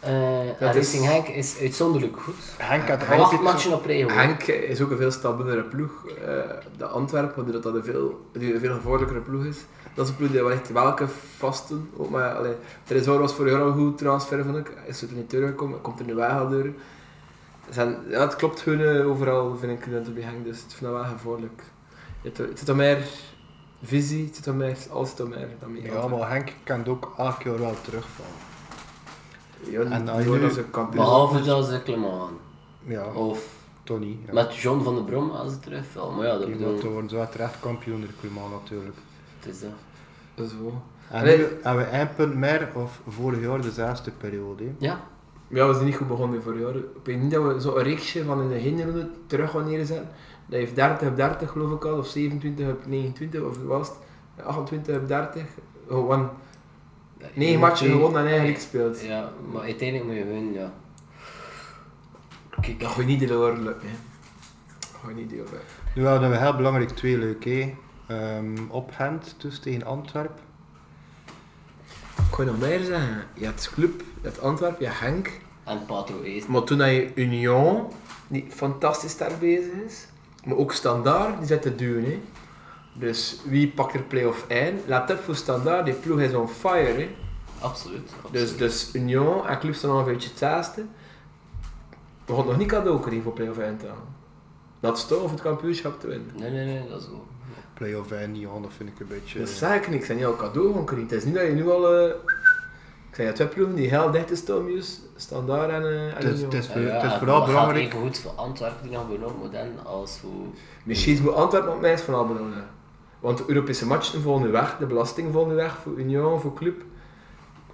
S3: Eh, en
S2: Dat is-
S3: Racing Henk is uitzonderlijk goed.
S4: Henk had
S2: Henk
S3: Acht
S2: is-
S3: matchen op rij gewonnen.
S2: Henk is ook een veel stabielere ploeg. eh de Antwerpen, die dat dat een veel, die een veel gevaarlijkere ploeg is. Dat is een ploeg die wel echt welke vasten. Ook maar, allee, Tresor was vorig jaar al een goed transfer, vond ik. Is er niet doorgekomen, komt er nu weg al door. Zijn, ja, het klopt gewoon eh, overal, vind ik, dat er bij Henk. Dus ik vind dat wel gevaarlijk. Het, het zit al meer visie, het zit al meer, alles zit al meer dan mee.
S4: Ja, maar Henk kan ook elk jaar wel terugvallen.
S2: Ja,
S4: En
S2: die
S4: als
S2: worden
S4: nu-
S2: als een kampioen.
S3: Behalve dat ze Clement.
S4: Ja,
S3: Of
S4: Tony. Ja.
S3: met John van der Brom als ze terugvallen. Maar ja, dat
S4: Die wordt
S3: bedoel
S4: worden zo terecht kampioen in Clément natuurlijk.
S3: het is eh, dat.
S2: Zo.
S4: En
S2: Nee.
S4: nu hebben we één punt meer of vorig jaar de zesde periode. hè.
S3: Ja,
S2: Ja, we zijn niet goed begonnen voor jaar. Ik weet niet dat we zo'n reeksje van in de hinderronde terug gaan neerzetten. Dat heeft 30 op 30 geloof ik al, of 27 op 29, of wat was het? 28 op 30. Gewoon 9 matchen gewonnen en eigenlijk gespeeld.
S3: Ja, maar uiteindelijk moet je winnen, ja. Kijk,
S2: Dat gaat niet door lukken. hè. Dat gaat niet door lukken.
S4: Nu hadden we heel belangrijk twee leuke. Ehm op Gent, dus tegen Antwerp.
S2: Ik ga nog meer zeggen. Je hebt Club, je hebt Antwerpen, je hebt Henk.
S3: en Pato Eest.
S2: Maar toen had je Union, die fantastisch sterk bezig is. Maar ook Standaard, die zit te duwen. Hè. Dus wie pakt er play-off in? Laat op voor Standaard, die ploeg is on fire. Hè.
S3: Absoluut. absoluut.
S2: Dus, dus Union en Club staan al een beetje het zesde. We gaan nog niet cadeau krijgen voor play-off in te halen. Dat is toch om het kampioenschap te winnen.
S3: Nee, nee, nee, dat is goed.
S4: Play-off en Johan, dat vind ik een beetje...
S2: Dat zeg ik niks, en jouw cadeau gaan krijgen. Het is niet dat je nu al... eh, Ik zei, je hebt twee ploegen die heel dicht is Tomius, Standaard en, eh, en
S4: het is,
S2: Union.
S4: het is, voor-
S3: Ja,
S4: het is
S3: en
S4: vooral
S3: dat
S4: belangrijk.
S3: Gaat even goed voor Antwerpen die nog benoemd moet worden als voor...
S2: Misschien moet Antwerpen op mij is van Albedon. Want de Europese matchen vallen nu weg, de belasting vallen nu weg voor Union, voor Club.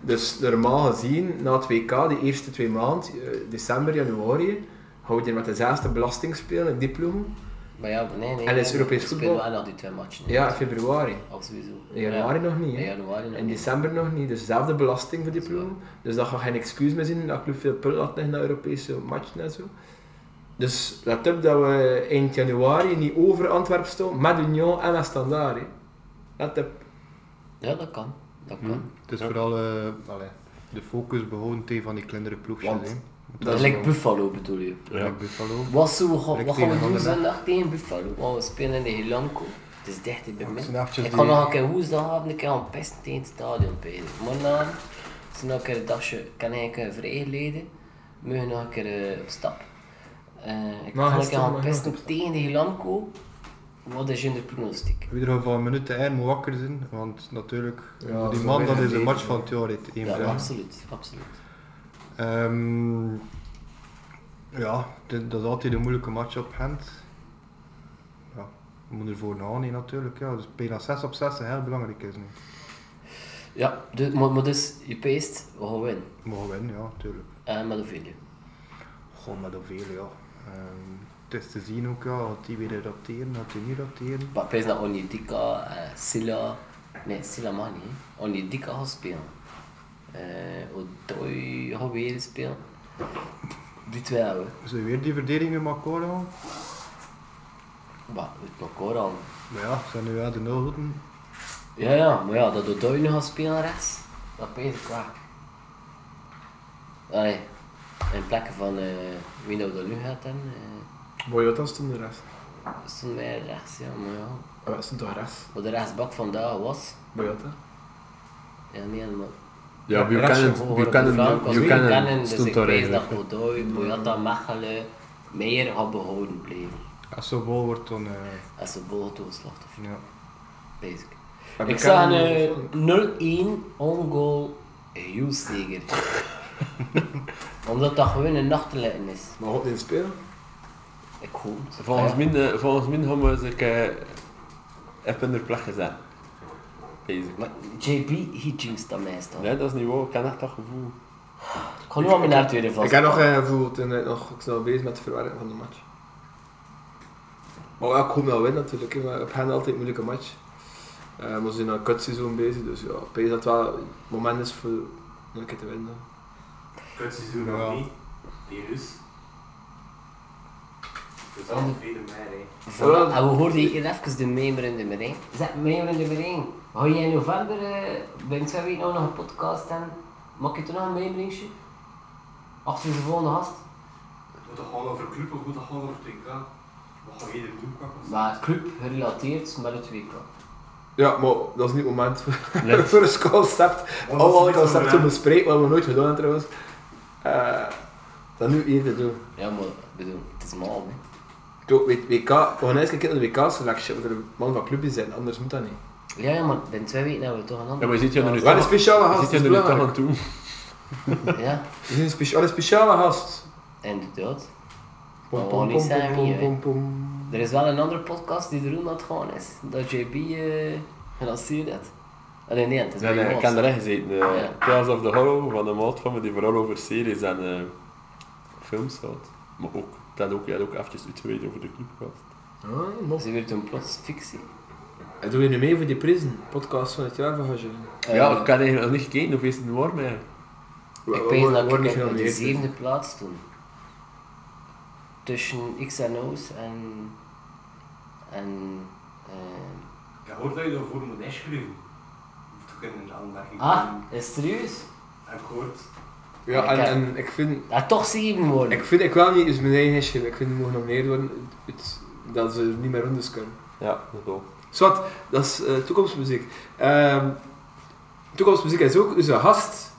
S2: Dus normaal gezien, na het WK, die eerste twee maanden, eh, december, januari, gaan we hier met de zesde belasting spelen in die ploeg.
S3: Maar ja, nee, nee.
S2: En is
S3: nee,
S2: Europees
S3: we
S2: voetbal?
S3: spelen wel nog die twee matchen. hè.
S2: Ja, in februari.
S3: Absoluut zo.
S2: In januari nog niet.
S3: Ja,
S2: hè.
S3: in januari nog
S2: In
S3: niet.
S2: december nog niet, dus dezelfde belasting voor die ploeg. Dus dat gaat geen excuus meer zijn dat Club veel punten laat liggen naar Europese matchen en zo. Dus let op dat we eind januari niet over Antwerpen staan met Union en met Standaard. hè. Let op.
S3: Ja, dat kan. Dat kan.
S4: Het is vooral eh, allee, de focus behouden tegen van die kleinere ploegjes.
S3: Want-
S4: hè.
S3: Dat lijkt Buffalo bedoel je.
S4: Like Buffalo.
S3: Wat, zullen we, gaan-
S4: Like
S3: wat gaan we
S4: tegen
S3: doen
S4: Anderlecht.
S3: zondag tegen Buffalo? Want we spelen in de Helanco. Het is dichter bij mij.
S4: zijn eventjes
S3: Ik
S4: die-
S3: ga nog een keer woensdagavond een keer aan pesten tegen het stadion spelen. Morgenavond is nog een keer een dagje, kan eigenlijk eh, vrijgeleden. Morgen nog een keer eh, op stap. Eh, ik
S2: Nou,
S3: ga nog een keer
S2: gisteren
S3: aan
S2: mag je nog
S3: pesten tegen de Helanco. Wat is je pronostiek?
S4: In ieder geval een minuut te eind moet wakker zijn, want natuurlijk,
S2: Ja,
S4: voor die
S2: zo
S4: man, dat
S2: weer
S4: is de
S2: een
S4: match
S2: beetje,
S4: van het jaar, dit één
S3: Ja,
S4: vraag.
S3: absoluut. absoluut.
S4: Ehm, ja, dit- dat is altijd een moeilijke match op hand. Ja, we moeten ervoor naar nee, natuurlijk. Ja. Dus bijna 6 op 6 heel belangrijk is nu.
S3: Ja, dus, maar, maar dus, je peest, we gaan winnen. Eh,
S4: We Mogen winnen, ja, natuurlijk.
S3: En met hoeveel?
S4: Gewoon met de vele, ja. Ehm, Het is te zien ook, ja, had die weer rapteren, had die niet rapteren.
S3: Maar pijs dat Onyedika, eh, Silla... Nee, Silla mag niet. hè. Onyedika gaat spelen. Eh Odoi gaat weer spelen. Die twee hebben we.
S4: Ze weer die verdediging met Macora.
S3: Maar uit elkaar al.
S4: Maar ja, ze zijn nu wel de nulhoeden.
S3: Ja, ja, maar ja, dat Odoi nu gaat spelen rechts, dat pijs ik wel. Allee, in plekken van eh, wie nou dat nu gaat dan, eh,
S2: Boyota stond er rechts.
S3: stonden wij rechts, ja, maar ja.
S2: Ah, dat stond toch rechts?
S3: Wat de rechtsbak vandaag was,
S2: Boyota?
S3: ja, nee, maar
S5: Ja,
S3: Buchanan,
S5: Buchanan, Buchanan, Buchanan
S3: dus ik
S5: stond daarin.
S3: vrees dat Godoy, Boyata, Mechelen meer had behouden blijven.
S4: Als ze bol wordt, dan... eh,
S3: Als ze volgen toegeslacht of
S4: ja.
S3: basic.
S2: Maar
S3: Ik
S2: Buchanan
S3: zag
S2: niet
S3: een
S2: gevonden.
S3: eh, 0-1 on-goal Hulsteger. Omdat dat gewoon een nachtletten is.
S2: Maar God niet spelen?
S3: Ik hoop het. Ah,
S5: Volgens
S3: Ja.
S5: mij, eh, volgens mij gaan we eens een keer even in de plek gezet. Bezig.
S3: Maar JB, he jinxed dat meestal.
S5: Nee, dat is niet waar. Ik ken echt dat gevoel.
S3: Ik ga nu aan mijn haar tweede vast.
S2: Ik heb nog eh, gevoel, toen ben ik nog snel bezig met het verwerken van de match. Maar ja, ik hoop dat we winnen natuurlijk, hè, maar op hen altijd een moeilijke match. Eh, maar ze zijn aan een kutseizoen bezig, dus ja, ik denk dat het wel het moment is voor om een keer te winnen.
S7: Kutseizoen nog
S4: Ja.
S7: niet. dus. Die Rus. Dat is altijd veel meer, hè.
S3: Voilà, en Ah, we hoorden hier even de meemerende Merijn. Zet meemerende Merijn. Ga jij in november, eh, ben ik twee weken nou nog een podcast en maak je toen nog een meebrengstje? Achter de volgende gast.
S7: Moet dat gewoon over club of moet dat gewoon over TK? Wat gaan we hier doen qua concept?
S3: Maar club gerelateerd met het WK.
S2: Ja, maar dat is niet het moment voor,
S5: Nee.
S2: voor een concept.
S7: dat
S2: Al
S7: is
S2: alle
S7: niet
S2: concepten
S7: gedaan.
S2: bespreken, wat we nooit gedaan hebben trouwens. Eh, dat nu hier te doen.
S3: Ja, maar bedoel, het is maal. hè.
S2: Doe, weet- WK, we gaan eens kijken naar de WK-selectie, want er een man van clubjes zijn, anders moet dat niet.
S3: Ja, ja, maar binnen twee weken hebben we toch een
S5: Ja,
S3: ander.
S5: maar je zit hier nu
S2: Waar een speciale
S5: je
S2: gast,
S5: zit
S2: dat
S5: hier
S2: is
S5: nu toch
S2: belangrijk.
S5: aan toe.
S3: Ja,
S2: We zijn een specia- wel een speciale gast.
S3: inderdaad.
S2: Pom,
S3: Maar we
S2: pom,
S3: gaan Oh, niet
S2: pom,
S3: zeggen
S2: pom,
S3: wie, hè.
S2: pom, pom.
S3: Er is wel een andere podcast die er aan het gaan is. Dat JB eh gelanceerd heeft. Allee, nee, het is
S5: Nee,
S3: bij
S5: nee, ik
S3: ons.
S5: ken erin gezeten. eh,
S3: Ja.
S5: Tales of the Horror van de maat van me die vooral over series en eh, films had. Maar ook, dat ook, je had ook eventjes iets geweten over de clubcast.
S2: Ah, mos.
S3: Ze werd een plots fictie.
S2: En doe je nu mee voor die Prison, podcast van het jaar van Gajelen?
S5: ja,
S3: Eh,
S5: ik kan eigenlijk nog niet gekeken of is het warm eigenlijk.
S3: Ik weet dat ik op de zevende plaats toen. Tussen XNO's en. en. eh,
S7: Ik hoor dat je daarvoor moet inschrijven. Moet ook in een aanmerking
S3: ah,
S7: komen.
S3: is het serieus?
S7: Heb ik gehoord.
S2: Ja, en, en ik vind,
S3: Ja, Ah, toch zeven worden.
S2: ik vind, ik wil niet eens mijn eigen issue, ik vind die mogen nomineerd worden, het, dat ze niet meer rondes kunnen.
S5: Ja, dat ook.
S2: Zwat, dat is eh, toekomstmuziek. Ehm, toekomstmuziek is ook onze gast.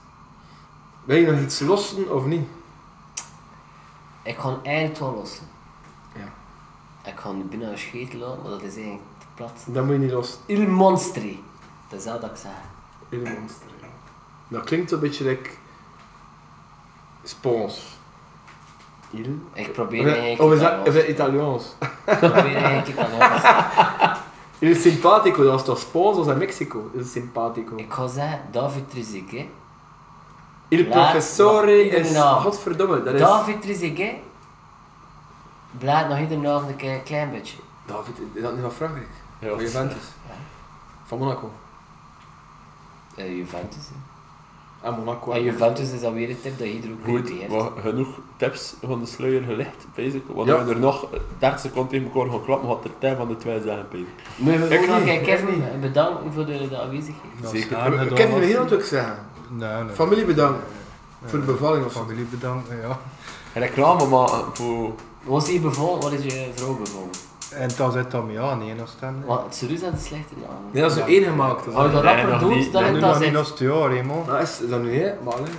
S2: Wil je nog iets lossen of niet?
S3: Ik ga eigenlijk wel lossen. Ik ga nu binnen een scheet laten, maar dat is eigenlijk te plat.
S2: Dat moet je niet lossen.
S3: Il monstri. Dat is dat dat ik zeg.
S2: In de monster. Dat klinkt een beetje like... Spons. Il
S3: Ik probeer eigenlijk.
S2: Of is
S3: Italiaans.
S2: dat, is dat Italiaans?
S3: Ik probeer eigenlijk Italiaans.
S2: Il simpatico, dat is toch Spaans als in Mexico? Il simpatico.
S3: Ik ga zeggen David Trezeguet.
S2: Il
S3: Laat-
S2: professore is...
S3: Nou.
S2: Godverdomme, dat is...
S3: David Trezeguet. Blijft nog iedere avond een keer- klein beetje.
S2: David, is dat niet van Frankrijk?
S5: Ja.
S2: Van Juventus?
S3: Ja.
S2: Van Monaco?
S3: Eh, Juventus. hè.
S2: En Ah, Monaco.
S3: Maar
S2: hè.
S3: Juventus is alweer een tip dat je er ook niet bij
S5: Goed,
S3: hebt.
S5: maar genoeg tips van de sluier gelicht, basic. Want
S2: Ja.
S5: we er nog 30 seconden tegen elkaar gaan klappen, had er tijd van de twee zeggen, basic.
S3: Maar we
S2: Ik
S3: moeten nog
S2: niet,
S3: een
S2: ik
S3: Kevin eh, bedanken voor de, de aanwezigheid.
S5: Zeker.
S4: Saar, dat
S2: Kevin,
S4: was-
S2: wil je dat ook zeggen?
S4: Nee, nee.
S2: Familie bedankt.
S4: Nee,
S2: Voor de
S4: nee.
S2: bevalling of zo.
S4: Familie bedankt, ja.
S5: Reclame maken voor...
S3: Was je bevallen? Wat is je vrouw bevallen?
S4: En dan zit dat mee aan, nee, als dan.
S3: Want het serieus had een slechte naam.
S2: Nee, dat is er één gemaakt. Dat
S3: Als je dat
S5: Nee,
S3: rapper
S5: nog
S3: doet,
S5: niet.
S3: dan
S5: Nee,
S3: is
S4: Nu
S3: dat
S4: nog niet
S3: zin.
S4: als het jaar, hè, man.
S2: Nou, is dat nu niet, maar alleen.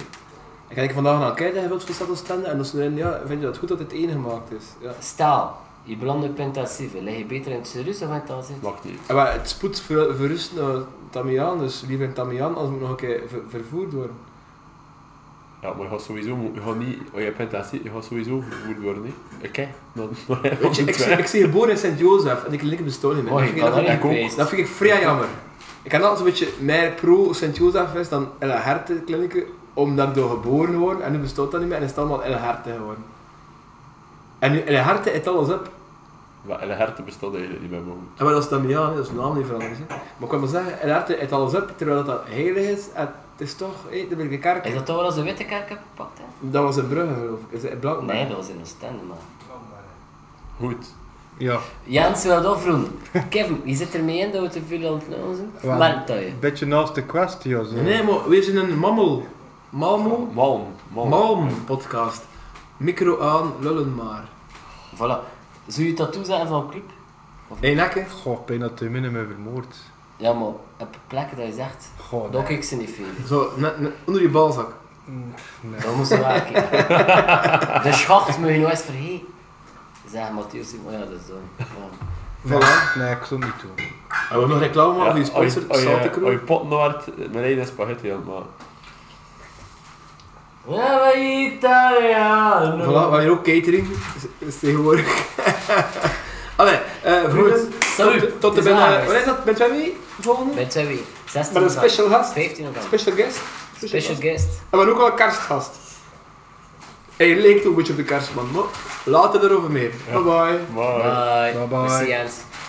S2: Ik heb vandaag naar kijken en wilt voor status standen en dan zei hij, ja, vind je dat goed dat het één gemaakt is? Ja.
S3: Staal. Je belandt op pentasieve. Leg je beter in het serieus of in het azit?
S5: Mag niet.
S2: En maar het spoedt ver- verrust naar Tamiaan, dus liever in Tamiaan, als moet nog een keer ver- vervoerd worden.
S5: Ja, maar je gaat sowieso, mo- je gaat niet, als je bent dat ziet, je gaat sowieso vervoerd worden, hè. Oké, dan dan van
S2: Weet je,
S5: de
S2: ik, zie-
S5: twee.
S2: ik zie geboren in Sint-Jozef en ik link bestolen mee.
S3: Oh,
S2: Dat
S3: je
S2: vind ik-
S3: kan
S2: dat,
S3: er
S2: vind
S3: niet
S2: ik-
S5: ook.
S3: geweest.
S2: dat vind ik vrij jammer. Ik heb altijd een beetje meer pro Sint-Jozef is dan El Herte klinieken, omdat ik door geboren worden en nu bestaat dat niet meer en is het allemaal El Herte geworden. En nu, in harte het alles op.
S5: Maar in de herten bestond eigenlijk niet bij mogen.
S2: En maar dat is dan ja, hè, dat is een naam niet veranderd. hè. Maar ik wil maar zeggen, in harte het alles op, terwijl dat, dat heilig is. En het is toch, hé, de Blanke Kerk.
S3: Is dat toch wel als de witte kerk heb gepakt? Hè?
S2: Dat was in Brugge, geloof ik. Is het in Blankenberg?
S3: Nee, dat was in Oostende, man.
S5: Goed.
S4: Ja,
S3: Jens wil dat vroegen. Kevin, wie zit er mee in dat we te veel aan het lullen zijn?
S4: Wel.
S3: Merk dat je.
S4: een beetje naast de kwestie of zo.
S2: Nee, maar we zijn een mammel. Malmo?
S5: Malm. Malm.
S2: Malm podcast. Micro aan, lullen maar.
S3: Voilà. Zou je tattoo zijn van een club?
S2: Nee, lekker.
S4: Goh, bijna te min me vermoord.
S3: Ja, maar op plekken dat je zegt,
S4: Goh,
S3: dat
S4: nee.
S3: kijk ik ze niet veel.
S2: Zo, net- net onder je balzak.
S3: Dat moest wel kijken. De schacht moet je nooit eens vergeten. Zeg, Matthias, maar ja, dat is dan. Ja.
S4: Voilà. Nee, ik zou het niet doen.
S2: En we nog reclame maken voor je sponsor,
S5: als je-
S2: Salte
S5: Als
S2: Crew.
S5: je pot noord, mijn eigen spaghetti aan het maken.
S3: Brava Italiano!
S2: Voilà, we hebben hier ook catering. Is, is tegenwoordig. Allee, eh vrienden.
S3: Salut.
S2: Tot, tot de
S3: Het is
S2: binnen.
S3: aangezet.
S2: Wat is dat? Met Jamie? Volgende?
S3: Met twee wie? 16
S2: Met een
S3: november.
S2: special gast.
S3: 15 november.
S2: Special guest.
S3: Special
S2: gast.
S3: guest.
S2: En we hebben ook al een kerstgast. Hij leek ook een beetje op de kerstman, maar later erover meer. Bye bye.
S5: Maar...
S3: Bye.
S4: Bye bye.
S3: Merci Jens.